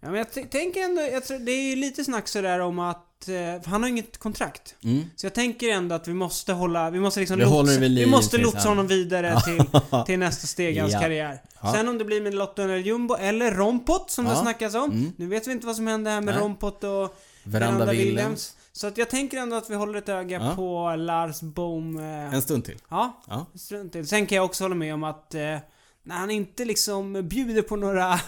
S2: Ja, men jag t- tänker ändå, jag tror, det är ju lite snack sådär om att eh, för han har inget kontrakt.
S1: Mm.
S2: Så jag tänker ändå att vi måste hålla, vi måste liksom
S1: Vi håller det vid
S2: vi
S1: liv
S2: måste
S1: tills
S2: lotsa
S1: han-
S2: honom vidare till, till nästa steg i hans
S1: Ja.
S2: karriär.
S1: Ja.
S2: Sen om det blir med Lotto eller Jumbo eller Rompot som det
S1: Ja.
S2: snackas om.
S1: Mm.
S2: Nu vet vi inte vad som hände här med
S1: Nej.
S2: Rompot och
S1: Veranda Williams.
S2: Så att jag tänker ändå att vi håller ett öga
S1: Ja.
S2: på Lars Bohm. Eh,
S1: En stund till.
S2: Ja,
S1: Ja.
S2: strunt till. Sen kan jag också hålla med om att eh, när han inte liksom bjuder på några...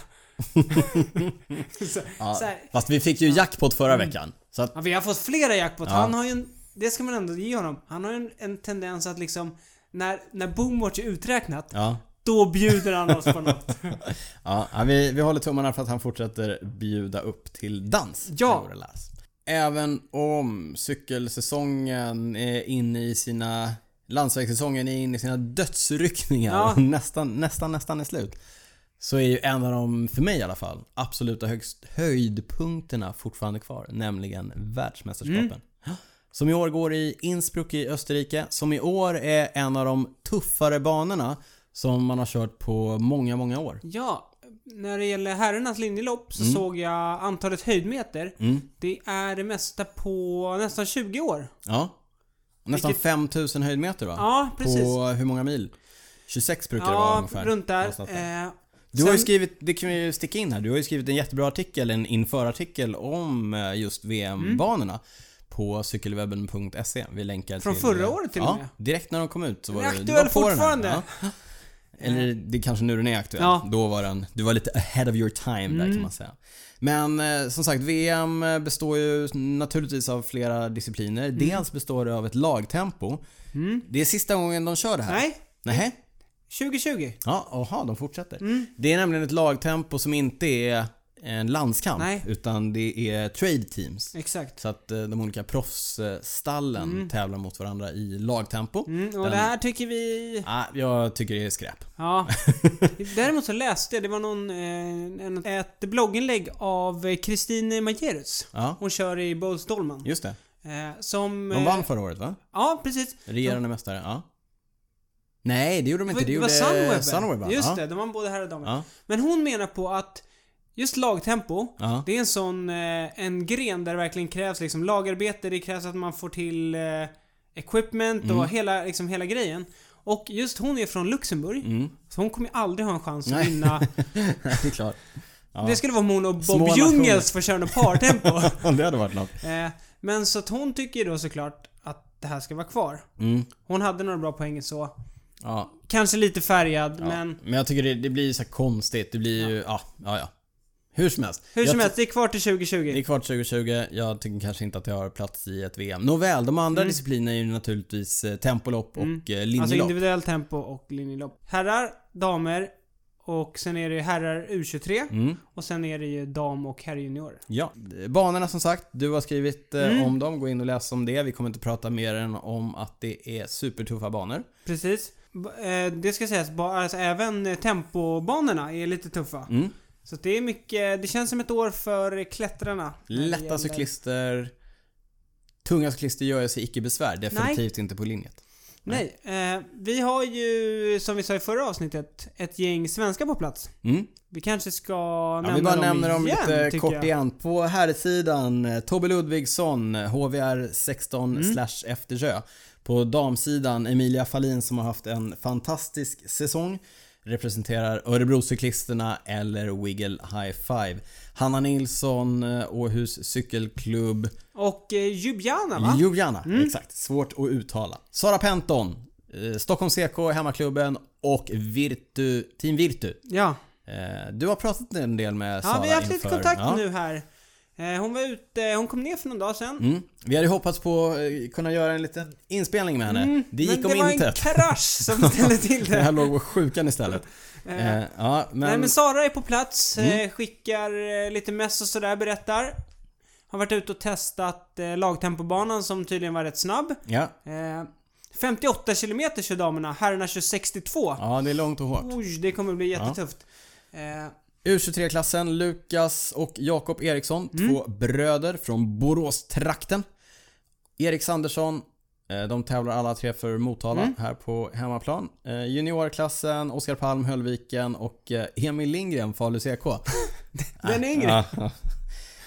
S2: så,
S1: Ja.
S2: så här,
S1: Fast vi fick ju jackpot förra
S2: Mm.
S1: veckan. Så att,
S2: ja, vi har fått flera jackpot.
S1: Ja.
S2: Han har ju en... Det ska man ändå ge honom. Han har ju en, en tendens att liksom... När, när boomwatch är uträknat,
S1: ja.
S2: då bjuder han oss på något.
S1: Ja, ja, vi, vi håller tummarna för att han fortsätter bjuda upp till dans.
S2: Ja.
S1: Vore Lars. Även om cykelsäsongen är inne i sina... Landsvägssäsongen är inne i sina dödsryckningar
S2: Ja.
S1: och nästan, nästan, nästan är slut. Så är ju en av de, för mig i alla fall, absoluta högst, höjdpunkterna fortfarande kvar. Nämligen världsmästerskapen. Som i år går i Innsbruck i Österrike. Som i år är en av de tuffare banorna som man har kört på många, många år.
S2: Ja, när det gäller herrarnas linjelopp
S1: Mm.
S2: så såg jag antalet höjdmeter. Det är det mesta på nästan 20 år.
S1: Ja. Nästan 5000 höjdmeter va?
S2: Ja, precis.
S1: På hur många mil? 26 brukar det vara
S2: Ja,
S1: ungefär.
S2: runt där.
S1: Någonstans där.
S2: Eh,
S1: Du har ju
S2: sen-
S1: skrivit, det kan vi ju sticka in här, du har ju skrivit en jättebra artikel, en införartikel om eh, just VM-banorna. På cykelwebben.se. Vi länkar
S2: Mm. Från
S1: till... eh,
S2: förra året till och
S1: ja,
S2: med.
S1: direkt när de kom ut så var
S2: Den är
S1: det-
S2: aktuell
S1: du var på den här.
S2: fortfarande.
S1: Ja. Eller det är kanske nu den är aktuell.
S2: Ja. Mm.
S1: Då var den, du var lite ahead of your time där kan man säga. Men eh, som sagt, VM består ju naturligtvis av flera discipliner.
S2: Mm.
S1: Dels består det av ett lagtempo. Det är sista gången de kör det här.
S2: Nej,
S1: Nähä?
S2: 2020.
S1: Ja, aha, de fortsätter.
S2: Mm.
S1: Det är nämligen ett lagtempo som inte är en landskamp
S2: Nej. Mm.
S1: utan det är trade teams.
S2: Exakt.
S1: Så att eh, de olika proffsstallen tävlar mot varandra i lagtempo.
S2: Mm, och
S1: Den-
S2: det här tycker vi...
S1: Ah, jag tycker det är skräp.
S2: Ja. Däremot så läste jag, det var någon, eh, en, ett blogginlägg av eh, Christine Majerus.
S1: Ja,
S2: Hon kör i Bowls Dolman.
S1: just det.
S2: Eh, som...
S1: De
S2: eh,
S1: vann förra året va?
S2: Ja, precis.
S1: Regerande mästare, ja. Nej, det gjorde de inte. Det,
S2: det var
S1: gjorde
S2: Sunweb.
S1: Sunweb va?
S2: Just
S1: ja.
S2: det, de vann både herr och damer.
S1: Ja.
S2: Men hon menar på att just lagtempo,
S1: Ja.
S2: det är en sån eh, en gren där det verkligen krävs liksom lagarbete, det krävs att man får till eh, equipment
S1: Mm.
S2: och hela, liksom, hela grejen. Och just hon är från Luxemburg, så hon kommer ju aldrig ha en chans att
S1: Mm. Nej.
S2: vinna.
S1: det är klart. Ja.
S2: Det skulle vara om hon och Bob
S1: Små
S2: Jungels
S1: nationer.
S2: får köra något partempo.
S1: det hade varit något.
S2: eh, men så att hon tycker ju då såklart att det här ska vara kvar.
S1: Mm.
S2: Hon hade några bra poäng så.
S1: Ja.
S2: Kanske lite färgad,
S1: ja.
S2: men
S1: men jag tycker det, det blir så här konstigt. Det blir ju... Ja, ja, ja. Hur som helst.
S2: hur
S1: Jag
S2: som
S1: ty-
S2: helst, det är kvar till
S1: Det
S2: 2020.
S1: är kvart 2020. Jag tycker kanske inte att jag har plats i ett VM. Nåväl, de andra disciplinerna är ju naturligtvis eh, tempolopp och eh, linjelopp.
S2: Mm. Alltså individuell tempo och linjelopp. Herrar, damer och sen är det herrar U23
S1: Mm.
S2: och sen är det ju dam och herrjuniorer.
S1: Ja, banorna som sagt. Du har skrivit eh,
S2: Mm.
S1: om dem. Gå in och läs om det. Vi kommer inte prata mer än om att det är supertuffa banor.
S2: Precis. B- eh, Det ska sägas, ba- alltså även eh, tempobanorna är lite tuffa.
S1: Mm.
S2: Så att det är mycket, det känns som ett år för klättrarna. när det
S1: Lätta
S2: gäller-
S1: cyklister. Tunga cyklister gör sig icke besvär. Definitivt inte på linjet.
S2: Nej, eh, vi har ju som vi sa i förra avsnittet ett gäng svenskar på plats.
S1: Mm.
S2: Vi kanske ska
S1: Ja,
S2: nämna
S1: vi bara
S2: dem
S1: nämner dem
S2: igen,
S1: lite
S2: tycker
S1: kort
S2: jag.
S1: igen. På här sidan eh, Tobbe Ludvigsson, eh, HVR 16
S2: Mm.
S1: slash Eftersjö. På damsidan Emilia Fahlin som har haft en fantastisk säsong. Representerar Örebrocyklisterna eller Wiggle High Five. Hanna Nilsson, eh, Åhus Cykelklubb.
S2: Och eh, Ljubljana va? Mm.
S1: Ljubljana, exakt. Svårt att uttala. Sara Penton, eh, Stockholm CK, hemmaklubben och Virtu, Team Virtu.
S2: ja.
S1: Eh, Du har pratat en del med Sara
S2: Ja, vi har haft
S1: inför,
S2: lite kontakt
S1: ja.
S2: nu här. Eh, Hon var ute, hon kom ner för någon dag sedan.
S1: Mm. Vi hade ju hoppats på eh, kunna göra en liten inspelning med henne. det gick
S2: Mm, men
S1: om
S2: det var en
S1: intet.
S2: krasch som ställde till
S1: Det här
S2: det.
S1: låg på sjukan istället. eh, ja, men, Mm.
S2: Nej men Sara är på plats, eh, skickar eh, lite mess och sådär, berättar. Har varit ute och testat eh, lagtempobanan som tydligen var rätt snabb.
S1: ja.
S2: Eh, 58 kilometer kör damerna, herrarna kör 62.
S1: ja, det är långt och hårt.
S2: Oj, det kommer bli jättetufft. Eh,
S1: U23-klassen, Lukas och Jakob Eriksson.
S2: Mm.
S1: Två bröder från Borås-trakten. Erik Sandersson. eh, De tävlar alla tre för Motala
S2: Mm.
S1: här på hemmaplan. Eh, Juniorklassen, Oskar Palm, Höllviken och eh, Emil Lindgren, Falu CK.
S2: den är yngre.
S1: Ja.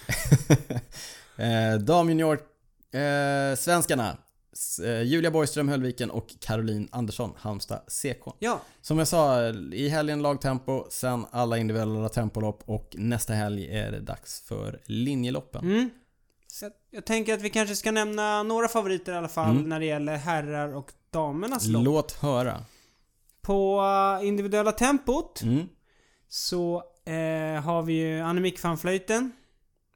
S1: eh, Damjunior eh, svenskarna S- eh, Julia Borgström Höllviken och Caroline Andersson Halmstad CK.
S2: Ja,
S1: Som jag sa, eh, i helgen lagtempo, sen alla individuella tempolopp och nästa helg är det dags för linjeloppen.
S2: Mm. Så jag, jag tänker att vi kanske ska nämna några favoriter i alla fall
S1: Mm.
S2: när det gäller herrar och damernas lopp.
S1: Låt höra.
S2: På eh, individuella tempot
S1: Mm.
S2: så eh, har vi ju Annemiek van Vleuten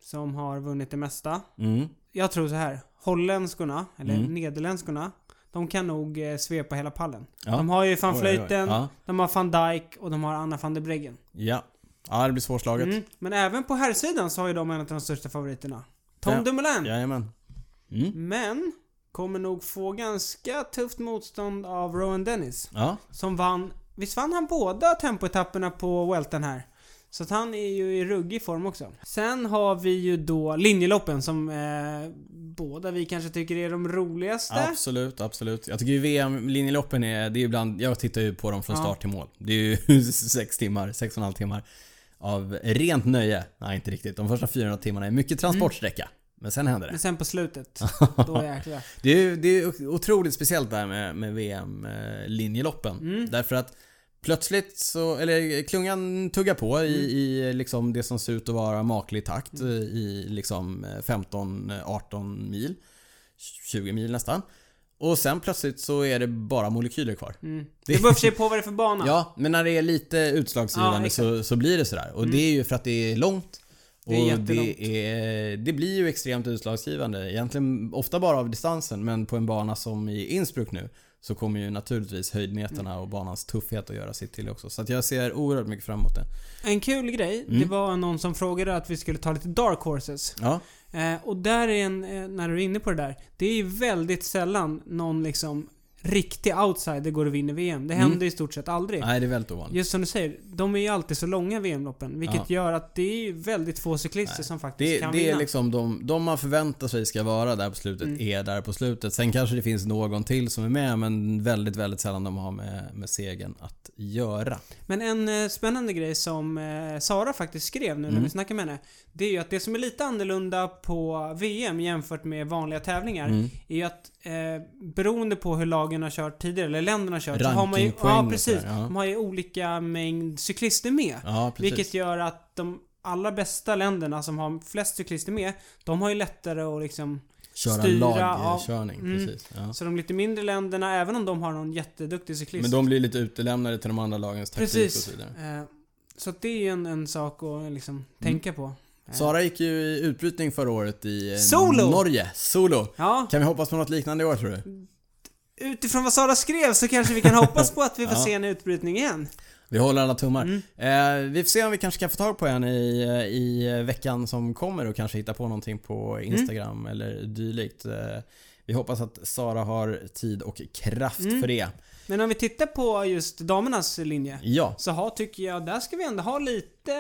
S2: som har vunnit det mesta.
S1: Mm.
S2: Jag tror så här, holländskorna, eller nederländskorna, de kan nog eh, svepa hela pallen.
S1: Ja.
S2: De har ju van
S1: Oj, oj, oj.
S2: Vleuten,
S1: Ja.
S2: de har van Dijk och de har Anna van der Breggen.
S1: Ja. ja, det blir svårslaget.
S2: Mm. Men även på herrsidan så har ju de en av de största favoriterna. Tom
S1: Ja.
S2: Dumoulin.
S1: Jajamän.
S2: Men kommer nog få ganska tufft motstånd av Rowan Dennis.
S1: Ja.
S2: Som vann, visst vann han båda tempoetapperna på Welten här? Så att han är ju i ruggig form också. Sen har vi ju då linjeloppen som eh, båda vi kanske tycker är de roligaste.
S1: Absolut, absolut. Jag tycker ju VM-linjeloppen är, det är ibland, jag tittar ju på dem från
S2: Ja.
S1: start till mål. Det är ju sex timmar, sex och en halv timmar av rent nöje. Nej, inte riktigt. De första 400 timmarna är mycket transportsträcka. Men sen händer det.
S2: Men sen på slutet, då jäklar.
S1: Det är ju det är ju otroligt speciellt det här med, med VM-linjeloppen. Därför att plötsligt så, eller klungan tuggar på i, i liksom det som ser ut att vara maklig takt eh, i liksom 15-18 mil. 20 mil nästan. Och sen plötsligt så är det bara molekyler kvar.
S2: Mm. Det beror i och för sig på vad det är för bana.
S1: Ja, men när det är lite
S2: Ja,
S1: utslagsgivande
S2: exakt.
S1: så, så blir det sådär. Och det är ju för att det är långt.
S2: Det är
S1: och
S2: jättelångt.
S1: det, är, det blir ju extremt utslagsgivande. Egentligen ofta bara av distansen, men på en bana som i Innsbruck nu så kommer ju naturligtvis höjdmeterna och banans tuffhet att göra sitt till också. Så att jag ser oerhört mycket fram emot det.
S2: En kul grej,
S1: Mm.
S2: det var någon som frågade att vi skulle ta lite dark horses.
S1: Ja,
S2: Eh, och där är en, eh, när du är inne på det där, det är ju väldigt sällan någon liksom riktig outsider går och vinner VM. Det händer i stort sett aldrig.
S1: Mm. Nej, det är väldigt ovanligt.
S2: Just som du säger, de är ju alltid så långa VM-loppen. Vilket
S1: Ja.
S2: gör att det är ju väldigt få cyklister som faktiskt
S1: Det,
S2: kan
S1: det är
S2: vinna. Mm.
S1: liksom de, de man förväntar sig ska vara där på slutet är där på slutet. Sen kanske det finns någon till som är med men väldigt, väldigt sällan de har med, med segern att göra.
S2: Men en eh, spännande grej som eh, Sara faktiskt skrev nu när
S1: Mm.
S2: vi snackade med henne. Det är ju att det som är lite annorlunda på VM jämfört med vanliga tävlingar.
S1: Mm.
S2: Är ju att eh, beroende på hur lagen har kört tidigare, eller länderna har kört. Så har man ju,
S1: Rankingpoäng
S2: ja,
S1: och
S2: precis.
S1: sådär, ja.
S2: De har ju olika mängd cyklister med.
S1: Ja, precis.
S2: Vilket gör att de allra bästa länderna som har flest cyklister med, de har ju lättare att liksom
S1: Köra
S2: styra
S1: lagkörning,
S2: av- mm.
S1: precis. Ja.
S2: Så de lite mindre länderna, även om de har någon jätteduktig cyklist.
S1: Men de blir lite utelämnade till de andra lagens taktik och
S2: Precis.
S1: så vidare. Mm.
S2: Eh, Så att det är ju en, en sak att liksom tänka på.
S1: Sara gick ju i utbrytning förra året i eh,
S2: Eh. Solo!
S1: Norge. Solo!
S2: Ja,
S1: Kan vi hoppas på något liknande i år tror du?
S2: utifrån vad Sara skrev så kanske vi kan hoppas på att vi får
S1: Ja.
S2: se en utbrytning igen.
S1: Vi håller alla
S2: Mm.
S1: tummar. Eh, vi får se om vi kanske kan få tag på en i, eh, i veckan som kommer och kanske hitta på någonting på
S2: Mm.
S1: Instagram eller dylikt. Eh, vi hoppas att Sara har tid och kraft
S2: Mm.
S1: för det.
S2: Men om vi tittar på just damernas linje.
S1: Ja,
S2: Så har, tycker jag, där ska vi ändå ha lite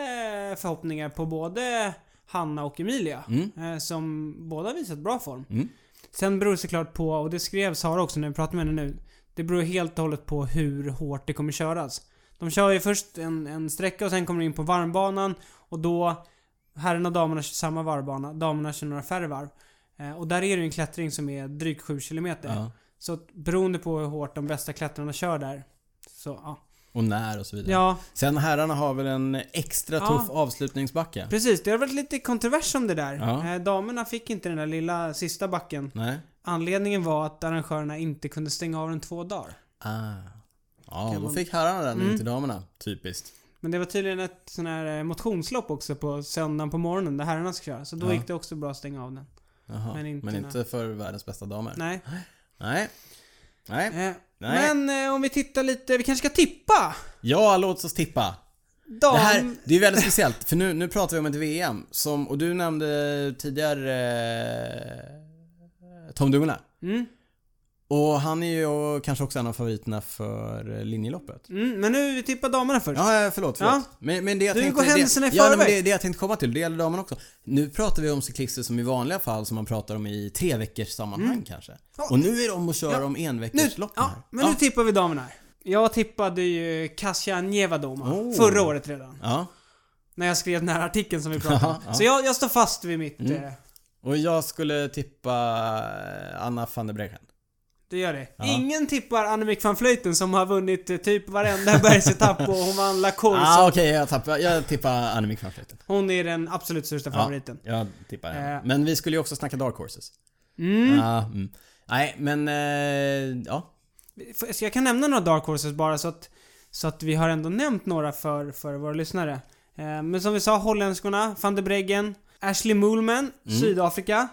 S2: förhoppningar på både Hanna och Emilia. eh, Som båda har visat bra form.
S1: Mm.
S2: Sen beror det såklart på, och det skrev Sara också när vi pratade med henne nu. Det beror helt och hållet på hur hårt det kommer köras. De kör ju först en, en sträcka och sen kommer de in på varmbanan. Och då, herrarna och damerna kör samma varvbana. Damerna kör några färre varv. Eh, Och där är det ju en klättring som är drygt 7 km.
S1: Ja.
S2: Så att beroende på hur hårt de bästa klättrarna kör där. Så ja.
S1: och när och så vidare.
S2: Ja,
S1: Sen herrarna har väl en extra
S2: Ja.
S1: tuff avslutningsbacke?
S2: Precis, det har varit lite kontrovers om det där.
S1: Ja.
S2: Eh, Damerna fick inte den där lilla sista backen.
S1: Nej?
S2: Anledningen var att arrangörerna inte kunde stänga av den två dagar.
S1: Ah. Ja, då
S2: Kan man- Mm.
S1: fick herrarna den, inte damerna. Typiskt.
S2: Men det var tydligen ett sån här eh, motionslopp också på söndagen på morgonen där herrarna ska köra. Så då
S1: Ja.
S2: gick det också bra att stänga av den.
S1: Jaha.
S2: Men inte
S1: Men
S2: när-
S1: inte för världens bästa damer?
S2: Nej.
S1: Nej. Nej.
S2: Eh,
S1: Nej.
S2: Men eh, om vi tittar lite, vi kanske ska tippa?
S1: Ja, låt oss tippa.
S2: Dam...
S1: Det här, det är väldigt speciellt för nu, nu pratar vi om ett VM som, och du nämnde tidigare eh, Tom Dumoulin.
S2: Mm.
S1: Och han är ju kanske också en av favoriterna för eh, linjeloppet.
S2: Mm, men nu vi tippar damerna först.
S1: Ja, eh, förlåt, förlåt.
S2: Ja.
S1: Men, men det jag
S2: Du
S1: tänkte...
S2: går händelserna i
S1: det, ja, nej, men
S2: förväg.
S1: det, det jag tänkte komma till, det gäller damerna också. Nu pratar vi om cyklister som i vanliga fall som man pratar om i tre veckors sammanhang kanske.
S2: Mm. Ja.
S1: Och nu är de och kör
S2: Ja.
S1: om
S2: Nu,
S1: enveckorsloppen
S2: ja,
S1: här.
S2: men nu tippar vi damerna här. Jag tippade ju Kasia Njevadoma
S1: Oh.
S2: förra året redan.
S1: ja.
S2: När jag skrev den här artikeln som vi pratade om.
S1: Ja, Mm. ja.
S2: Så jag, jag står fast vid mitt... Eh,
S1: Och jag skulle tippa eh, Anna van der Breggen.
S2: det gör det.
S1: Ja.
S2: Ingen tippar Annemiek van Vleuten som har vunnit eh, typ varenda bergsetapp och hon vann La Course.
S1: Ah, okej, jag, tappar, jag tippar Annemiek van Vleuten.
S2: Hon är den absolut största favoriten.
S1: Ja, jag tippar henne.
S2: Eh.
S1: Men vi skulle ju också snacka dark horses.
S2: Mm.
S1: Ah, mm. Nej, men eh, ja.
S2: F- Så jag kan nämna några Dark Horses bara så att, så att vi har ändå nämnt några för, för våra lyssnare. Eh, men som vi sa, holländskorna, van der Breggen, Ashley Moolman, Sydafrika,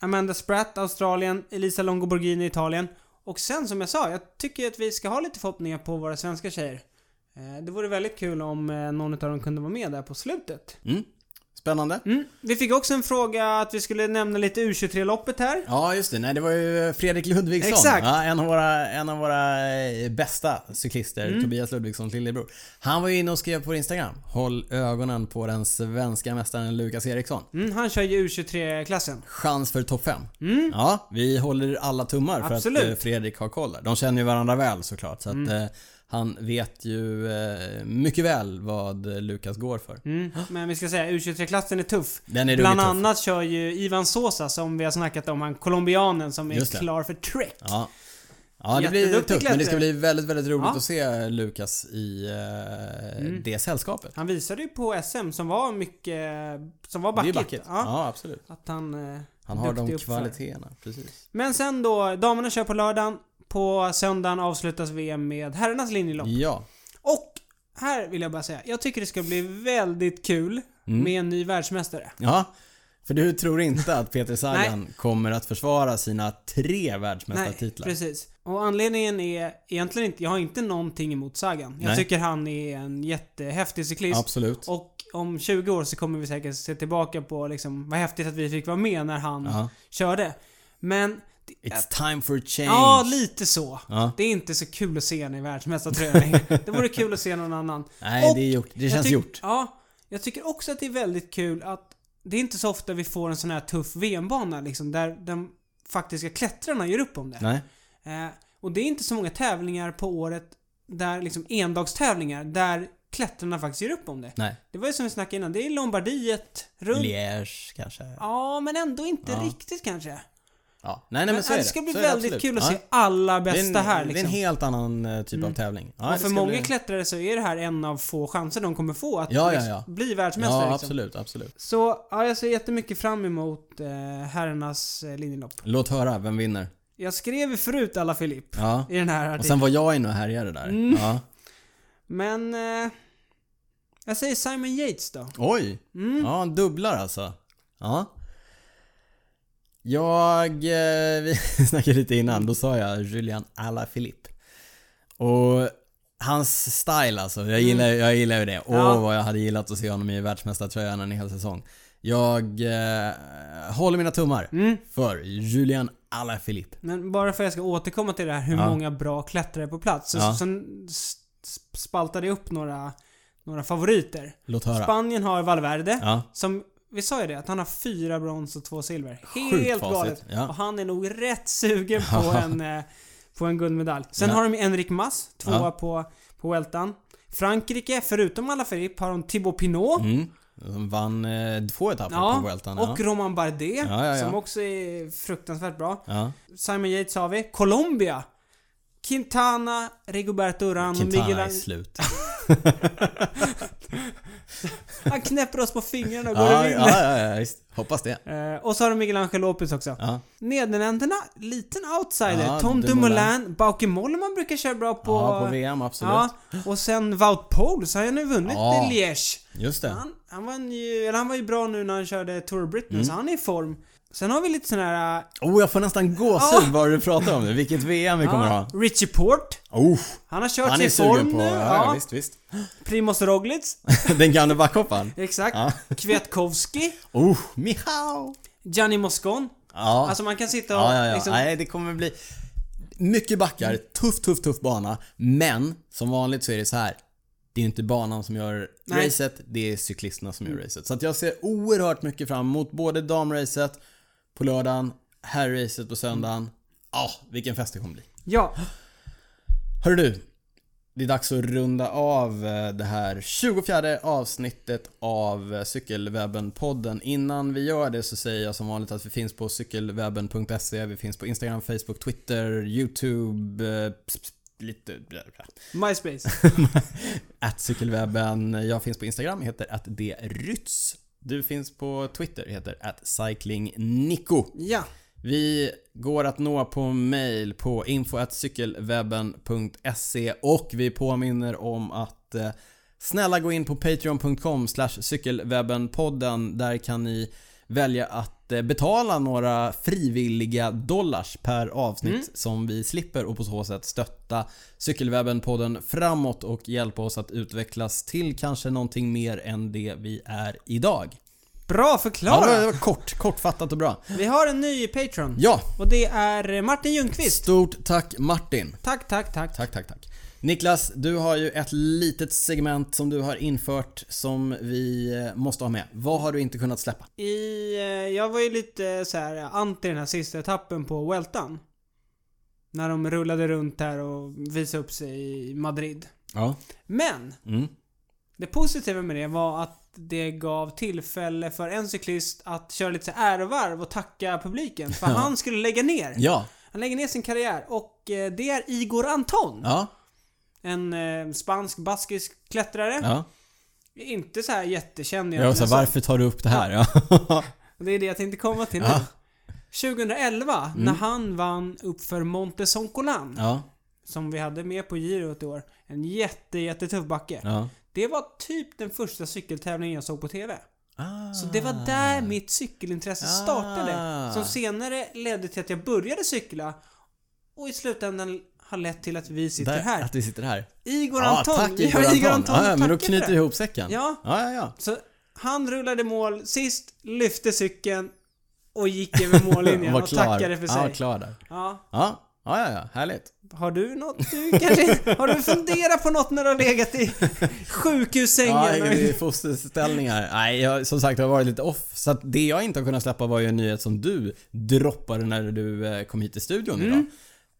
S2: Amanda Spratt, Australien, Elisa Longoborghini, Italien. Och sen som jag sa, jag tycker att vi ska ha lite förhoppningar på våra svenska tjejer. Eh, det vore väldigt kul om eh, någon av dem kunde vara med där på slutet.
S1: Mm. Spännande.
S2: Mm. Vi fick också en fråga att vi skulle nämna lite U23-loppet här.
S1: Ja, just det. Nej, det var ju Fredrik Ludvigsson.
S2: Exakt.
S1: Ja, en, av våra, en av våra eh, bästa cyklister,
S2: Mm.
S1: Tobias Ludvigssons lillebror. Han var ju inne och skrev på Instagram. Håll ögonen på den svenska mästaren Lukas Eriksson.
S2: Mm, han kör ju U23-klassen.
S1: Chans för topp 5. Ja, vi håller alla tummar för
S2: Mm. Absolut. Mm.
S1: att eh, Fredrik har koll där. De känner ju varandra väl såklart. Så att, eh, han vet ju eh, mycket väl vad eh, Lukas går för.
S2: Mm. Men vi ska säga U23-klassen är tuff.
S1: Den är
S2: Bland
S1: ruggigt tuff.
S2: annat kör ju Ivan Sosa som vi har snackat om, han colombianen som
S1: Just det.
S2: är klar för Trek.
S1: Ja. Ja, det blir
S2: Jätteduktig
S1: tufft. Men det ska
S2: klättrare.
S1: bli väldigt, väldigt roligt
S2: Ja. Mm.
S1: att se Lukas i eh, det sällskapet.
S2: Han visade ju på SM som var mycket... Som var
S1: Det
S2: backigt.
S1: är backigt. Ja.
S2: Ja.
S1: absolut.
S2: Att han... eh,
S1: Han har
S2: duktig
S1: de
S2: uppför.
S1: kvaliteterna. Precis.
S2: Men sen då, damerna kör på lördagen. På söndagen avslutas VM med herrarnas linjelopp.
S1: Ja.
S2: Och här vill jag bara säga, jag tycker det ska bli väldigt kul med en ny världsmästare.
S1: Mm. ja. För du tror inte att Peter Sagan kommer att försvara sina tre världsmästartitlar?
S2: precis. Och anledningen är egentligen inte, jag har inte någonting emot Sagan. Jag
S1: Nej.
S2: tycker han är en jättehäftig cyklist.
S1: Absolut.
S2: Och om 20 år så kommer vi säkert se tillbaka på liksom, vad häftigt att vi fick vara med när han
S1: Ja.
S2: körde. Men
S1: It's time for change.
S2: Ja, lite så.
S1: Ja.
S2: Det är inte så kul att se henne i världsmästartröjan längre. Det vore kul att se någon annan.
S1: Nej,
S2: Och
S1: det är gjort. Det
S2: jag
S1: känns
S2: tyck-
S1: gjort.
S2: Ja. Jag tycker också att det är väldigt kul att det är inte så ofta vi får en sån här tuff VM-bana liksom, där de faktiska klättrarna gör upp om det.
S1: Nej.
S2: Eh, och det är inte så många tävlingar på året där liksom endagstävlingar där klättrarna faktiskt gör upp om det.
S1: Nej.
S2: Det var ju som vi snackade innan, det är Lombardiet runt.
S1: Liège kanske. Ja.
S2: Ja, men ändå inte
S1: Ja.
S2: riktigt kanske.
S1: Nej, nej, men
S2: men alltså,
S1: så är
S2: det
S1: det.
S2: ska bli
S1: Så är det
S2: väldigt
S1: absolut.
S2: kul att
S1: Ja.
S2: se alla
S1: Det är
S2: bästa
S1: en-
S2: här
S1: Det är en
S2: liksom.
S1: helt annan eh, typ av tävling. Ja, det
S2: och för
S1: ska
S2: många
S1: bli-
S2: klättrare så är det här en av få chanser de kommer få att
S1: Ja, ja,
S2: liksom
S1: ja.
S2: bli världsmästare.
S1: Ja,
S2: liksom.
S1: absolut, absolut.
S2: Så ja, jag ser jättemycket fram emot eh, herrarnas eh, linjelopp.
S1: Låt höra, vem vinner?
S2: Jag skrev ju förut alla Filipp
S1: Ja.
S2: i den här
S1: Och
S2: artikeln.
S1: sen var jag inne och härjade där.
S2: Mm.
S1: Ja.
S2: Men... Eh, jag säger Simon Yates då.
S1: Oj!
S2: Mm.
S1: Ja, han dubblar alltså. Ja. Jag... Eh, vi snackade lite innan, då sa jag Julian Alaphilippe. Och hans style alltså, jag gillar, jag gillar ju det. Åh,
S2: Mm. Ja.
S1: vad jag hade gillat att se honom i världsmästartröjan en hel säsong. Jag eh, håller mina tummar
S2: Mm.
S1: för Julian Alaphilippe.
S2: Men bara för att jag ska återkomma till det här hur
S1: Ja.
S2: många bra klättrare är på plats. Så,
S1: Ja.
S2: Sen s- s- spaltade jag upp några, några favoriter.
S1: Låt höra.
S2: Spanien har Valverde.
S1: Ja.
S2: Som, vi sa ju det, att han har fyra brons och två silver.
S1: Sjukt
S2: Helt
S1: facit,
S2: galet.
S1: ja.
S2: Och han är nog rätt sugen på en, eh, på en guldmedalj. Sen
S1: Ja.
S2: har de Enric Mas, tvåa
S1: Ja.
S2: på, på Weltan. Frankrike, förutom Alaphilippe, har de Thibaut Pinot.
S1: Mm. De vann eh, två etapper på Vueltan.
S2: och Roman Bardet,
S1: Ja, ja, ja.
S2: som också är fruktansvärt bra.
S1: ja.
S2: Simon Yates har vi. Colombia. Quintana, Rigoberto Urán och Miguel
S1: Quintana är
S2: Ang-
S1: slut.
S2: Han knäpper oss på fingrarna och går och
S1: ja,
S2: vinner.
S1: ja, ja, ja, visst. Hoppas det.
S2: Eh, och så har de Miguel Angel Lopez också.
S1: Ja.
S2: Nederländerna, liten outsider.
S1: Ja,
S2: Tom
S1: Dumoulin.
S2: Dumoulin, Bauke Mollman brukar köra bra på...
S1: ja, på VM absolut.
S2: Ja, och sen Wout Poels, han har nu vunnit
S1: Ja.
S2: i Liège.
S1: Just det.
S2: Han, han, vann ju, eller han var ju bra nu när han körde Tour of
S1: Mm.
S2: Britain, så han är i form. Sen har vi lite sån här... eh,
S1: Oh, jag får nästan gåshud bara du pratar om det. Vilket VM vi kommer
S2: ja,
S1: ha.
S2: Richie Port.
S1: Oh,
S2: Han har kört
S1: han
S2: sig
S1: är
S2: i form
S1: sugen på...
S2: nu.
S1: Ja, ja, visst, visst.
S2: Primoz Roglic.
S1: Den gamle backhopparen.
S2: Exakt.
S1: Ja.
S2: Kwiatkowski.
S1: Oh, Mihao!
S2: Gianni Moscon.
S1: Ja,
S2: Alltså man kan sitta och
S1: ja, ja. ja.
S2: liksom... Mm.
S1: Nej, det kommer bli... Mycket backar, tuff, tuff, tuff bana. Men som vanligt så är det så här. Det är inte banan som gör
S2: Nej. Mm.
S1: racet, det är cyklisterna som gör racet. Så att jag ser oerhört mycket fram emot både damracet på lördagen, herrracet på
S2: Mm.
S1: söndagen. Ah, vilken fest det kommer bli.
S2: Ja.
S1: Hör du, det är dags att runda av eh, det här 24 avsnittet av eh, Cykelwebben-podden. Innan vi gör det så säger jag som vanligt att vi finns på cykelwebben.se. Vi finns på Instagram, Facebook, Twitter, YouTube, eh, ps- ps- lite... eh,
S2: MySpace.
S1: Att cykelwebben. Jag finns på Instagram, heter att det rytts. Du finns på Twitter, heter att cyclingnico.
S2: Ja.
S1: Vi går att nå på mail på info.cykelwebben.se och vi påminner om att eh, snälla gå in på patreon.com slash cykelwebbenpodden. Där kan ni välja att eh, betala några frivilliga dollars per avsnitt som vi slipper och på så sätt stötta Cykelwebben-podden framåt och hjälpa oss att utvecklas till kanske någonting mer än det vi är idag.
S2: Bra
S1: Ja, det var-
S2: förklarat.
S1: det var kort, kortfattat och bra.
S2: Vi har en ny Patreon.
S1: Ja,
S2: Och det är eh, Martin Ljungqvist.
S1: Stort tack Martin.
S2: Tack, tack, tack.
S1: Tack, tack, tack. Niklas, du har ju ett litet segment som du har infört som vi eh, måste ha med. Vad har du inte kunnat släppa?
S2: I, eh, jag var ju lite så här eh, anti den här sista etappen på Weltan. När de rullade runt här och visade upp sig i Madrid.
S1: Ja.
S2: Men!
S1: Mm.
S2: Det positiva med det var att det gav tillfälle för en cyklist att köra lite så här ärevarv och tacka publiken. För han skulle lägga ner.
S1: Ja.
S2: Han lägger ner sin karriär och eh, det är Igor Anton.
S1: Ja.
S2: En eh, spansk baskisk klättrare.
S1: Ja.
S2: Inte så här jättekänd
S1: Jag var så här,
S2: så-
S1: varför tar du upp det här? Ja.
S2: Det är det jag tänkte komma till
S1: Ja. Mm.
S2: nu. 2011 när han vann uppför Monte Soncolan.
S1: Ja.
S2: Som vi hade med på girot i år. En jätte, jättetuff backe.
S1: ja.
S2: Det var typ den första cykeltävlingen jag såg på TV.
S1: Ah.
S2: Så det var där mitt cykelintresse
S1: Ah.
S2: startade. Som senare ledde till att jag började cykla. Och i slutändan har lett till att vi sitter
S1: Där,
S2: här.
S1: att vi sitter här.
S2: Igor
S1: Ja,
S2: Anton.
S1: tack
S2: vi
S1: Igor
S2: har
S1: Anton. ja, ja, men då
S2: tackar för
S1: knyter vi
S2: det.
S1: ihop säcken.
S2: Ja.
S1: Ja, ja, ja.
S2: Så han rullade mål sist, lyfte cykeln och gick över mållinjen
S1: Var
S2: och
S1: klar.
S2: tackade för sig.
S1: Ja, klar där.
S2: Ja.
S1: Ja, ja, ja, ja. härligt.
S2: Har du något du kanske... Har du funderat på något när du har legat i sjukhussängen?
S1: Ja, det är fosterställningar. Nej, jag, som sagt, jag har varit lite off. Så att det jag inte har kunnat släppa var ju en nyhet som du droppade när du eh, kom hit till studion idag.
S2: Mm.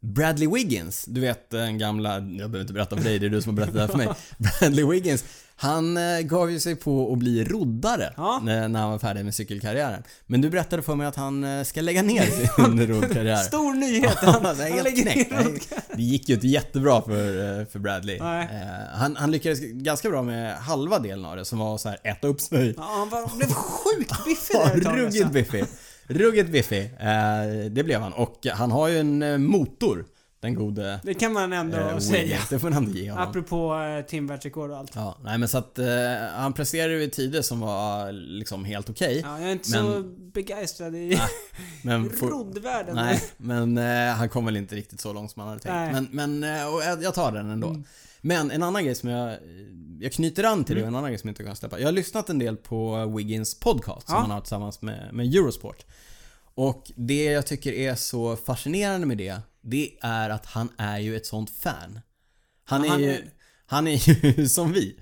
S1: Bradley Wiggins, du vet den gamla, jag behöver inte berätta för dig, det är du som har berättat det här för mig. Bradley Wiggins, han eh, gav ju sig på att bli roddare
S2: Ja.
S1: när, när han var färdig med cykelkarriären. Men du berättade för mig att han eh, ska lägga ner sin roddkarriär.
S2: Stor nyhet!
S1: Han,
S2: Han,
S1: alltså,
S2: han
S1: helt
S2: lägger
S1: knäckt.
S2: ner
S1: Nej, Det gick ju inte jättebra för, eh, för Bradley.
S2: Nej.
S1: Eh, Han, han lyckades ganska bra med halva delen av det som var så här äta upp snö.
S2: Ja, han var, blev sjukt biffig
S1: Ja,
S2: där ett tag,
S1: ruggigt
S2: nästan.
S1: biffig. Ruggigt biffig. Eh, Det blev han. Och han har ju en eh, motor, den gode
S2: Det kan man ändå
S1: eh,
S2: säga.
S1: Wiggins. Det får man ändå ge honom.
S2: Apropå eh, timvärldsrekord och allt.
S1: Ja, nej men så att eh, han presterade ju i tider som var liksom helt okej.
S2: Ja, jag är inte så begeistrad i
S1: men for-
S2: roddvärlden.
S1: Nej, men eh, han kom väl inte riktigt så långt som han hade tänkt.
S2: Nej. Mm.
S1: Men, men eh, och jag jag tar den ändå. Men en annan grej som jag... eh, Jag knyter an till det
S2: Mm.
S1: och en annan grej som jag inte kan släppa. Jag har lyssnat en del på Wiggins podcast
S2: Ja.
S1: som han har tillsammans med, med Eurosport. Och det jag tycker är så fascinerande med det, det är att han är ju ett sånt fan. Han är
S2: Han- Mm.
S1: ju... Han är ju som vi.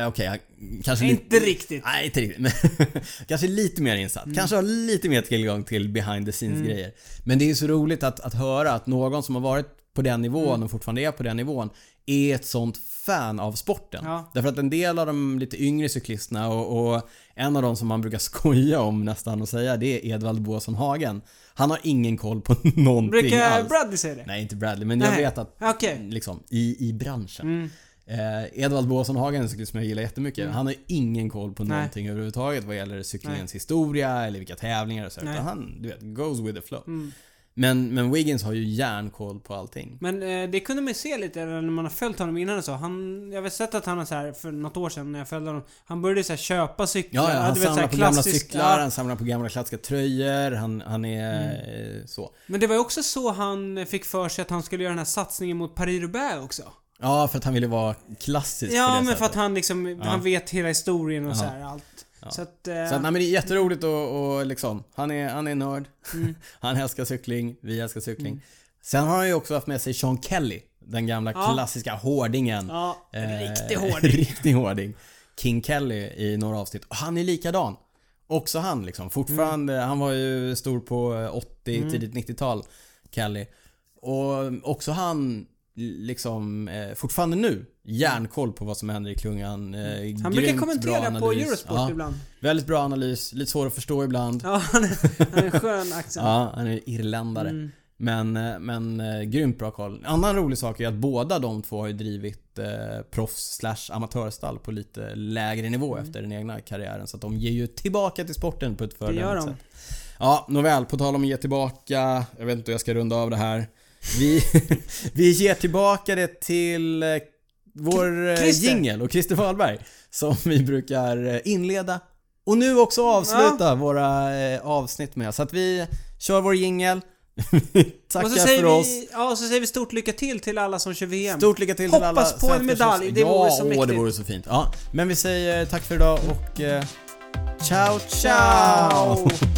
S1: Eh, Okej, han kanske
S2: Inte riktigt. Mm.
S1: Nej, inte riktigt. Men kanske lite mer insatt. Kanske har lite mer tillgång till behind the scenes grejer. Men det är så roligt att, att höra att någon som har varit på den nivån
S2: Mm.
S1: och fortfarande är på den nivån är ett sånt fan av sporten.
S2: Ja.
S1: Därför att en del av de lite yngre cyklisterna och, och en av de som man brukar skoja om nästan och säga det är Edvald Båsson Hagen. Han har ingen koll på någonting
S2: Brukar
S1: alls.
S2: Bradley säga det?
S1: Nej, inte Bradley, men jag
S2: Nej.
S1: vet att
S2: Okej. Mm.
S1: liksom, i, i branschen. Eh, Edvard Båsson Hagen, en cyklist som jag gillar jättemycket, han har ingen koll på
S2: Nej.
S1: någonting överhuvudtaget vad gäller cyklingens
S2: Nej.
S1: historia eller vilka tävlingar och så.
S2: Nej. Mm.
S1: Utan han, du vet, goes with the flow. Men, men Wiggins har ju järnkoll på allting.
S2: Men eh, det kunde man ju se lite när man har följt honom innan och så. Han, jag har sett att han har så här för något år sedan när jag följde honom. Han började så här köpa cyklar.
S1: Ja, ja, han
S2: du vet, så här
S1: samlar på gamla
S2: klassisk-
S1: cyklar,
S2: ja.
S1: han samlar på gamla klassiska tröjor, han, han är
S2: Mm.
S1: eh, så.
S2: Men det var ju också så han fick för sig att han skulle göra den här satsningen mot Paris-Roubaix också.
S1: Ja, för att han ville vara klassisk på det
S2: Ja, men
S1: sättet.
S2: för att han liksom, han vet hela historien och så här allt. Så att... Eh,
S1: Så att, nej, men det är jätteroligt och, och liksom, han är, han är nörd.
S2: Mm.
S1: Han älskar cykling, vi älskar cykling. Sen har han ju också haft med sig Sean Kelly. Den gamla klassiska hårdingen.
S2: ja, en
S1: Eh,
S2: riktig hårding.
S1: riktig hårding. King Kelly i några avsnitt. Och han är likadan. Också han liksom. Fortfarande,
S2: Mm.
S1: han var ju stor på eh, 80, tidigt 90-tal. Kelly. Och också han liksom eh, fortfarande nu järnkoll på vad som händer i klungan. Eh,
S2: Han brukar
S1: grymt bra
S2: kommentera på
S1: analys.
S2: Eurosport
S1: Ja.
S2: ibland.
S1: Väldigt bra analys, lite svår att förstå ibland. Ja,
S2: Ja, han är, han är en skön accent.
S1: han är irländare.
S2: Mm.
S1: Men, eh, men eh, grymt bra koll. En annan rolig sak är att båda de två har ju drivit eh, proffs slash amatörstall på lite lägre nivå
S2: Mm.
S1: efter den egna karriären. Så att de ger ju tillbaka till sporten på ett
S2: gör
S1: föredömligt
S2: de.
S1: sätt. Ja, nåväl. På tal om att ge tillbaka. Jag vet inte hur jag ska runda av det här. Vi, vi ger tillbaka det till eh, vår eh,
S2: Christer.
S1: jingel och Christer Wahlberg. Som vi brukar eh, inleda och nu också avsluta våra eh, avsnitt med. Så att vi kör vår jingel. Tackar
S2: Och så säger
S1: för oss.
S2: vi, ja, och så säger vi stort lycka till till alla som kör VM.
S1: Stort lycka till
S2: Hoppas
S1: till alla
S2: på en
S1: svenskar som-
S2: medalj. Det vore
S1: åh,
S2: så
S1: det
S2: mäktigt.
S1: vore så fint. Ja, men vi säger tack för idag och eh, ciao ciao!
S2: Ciao!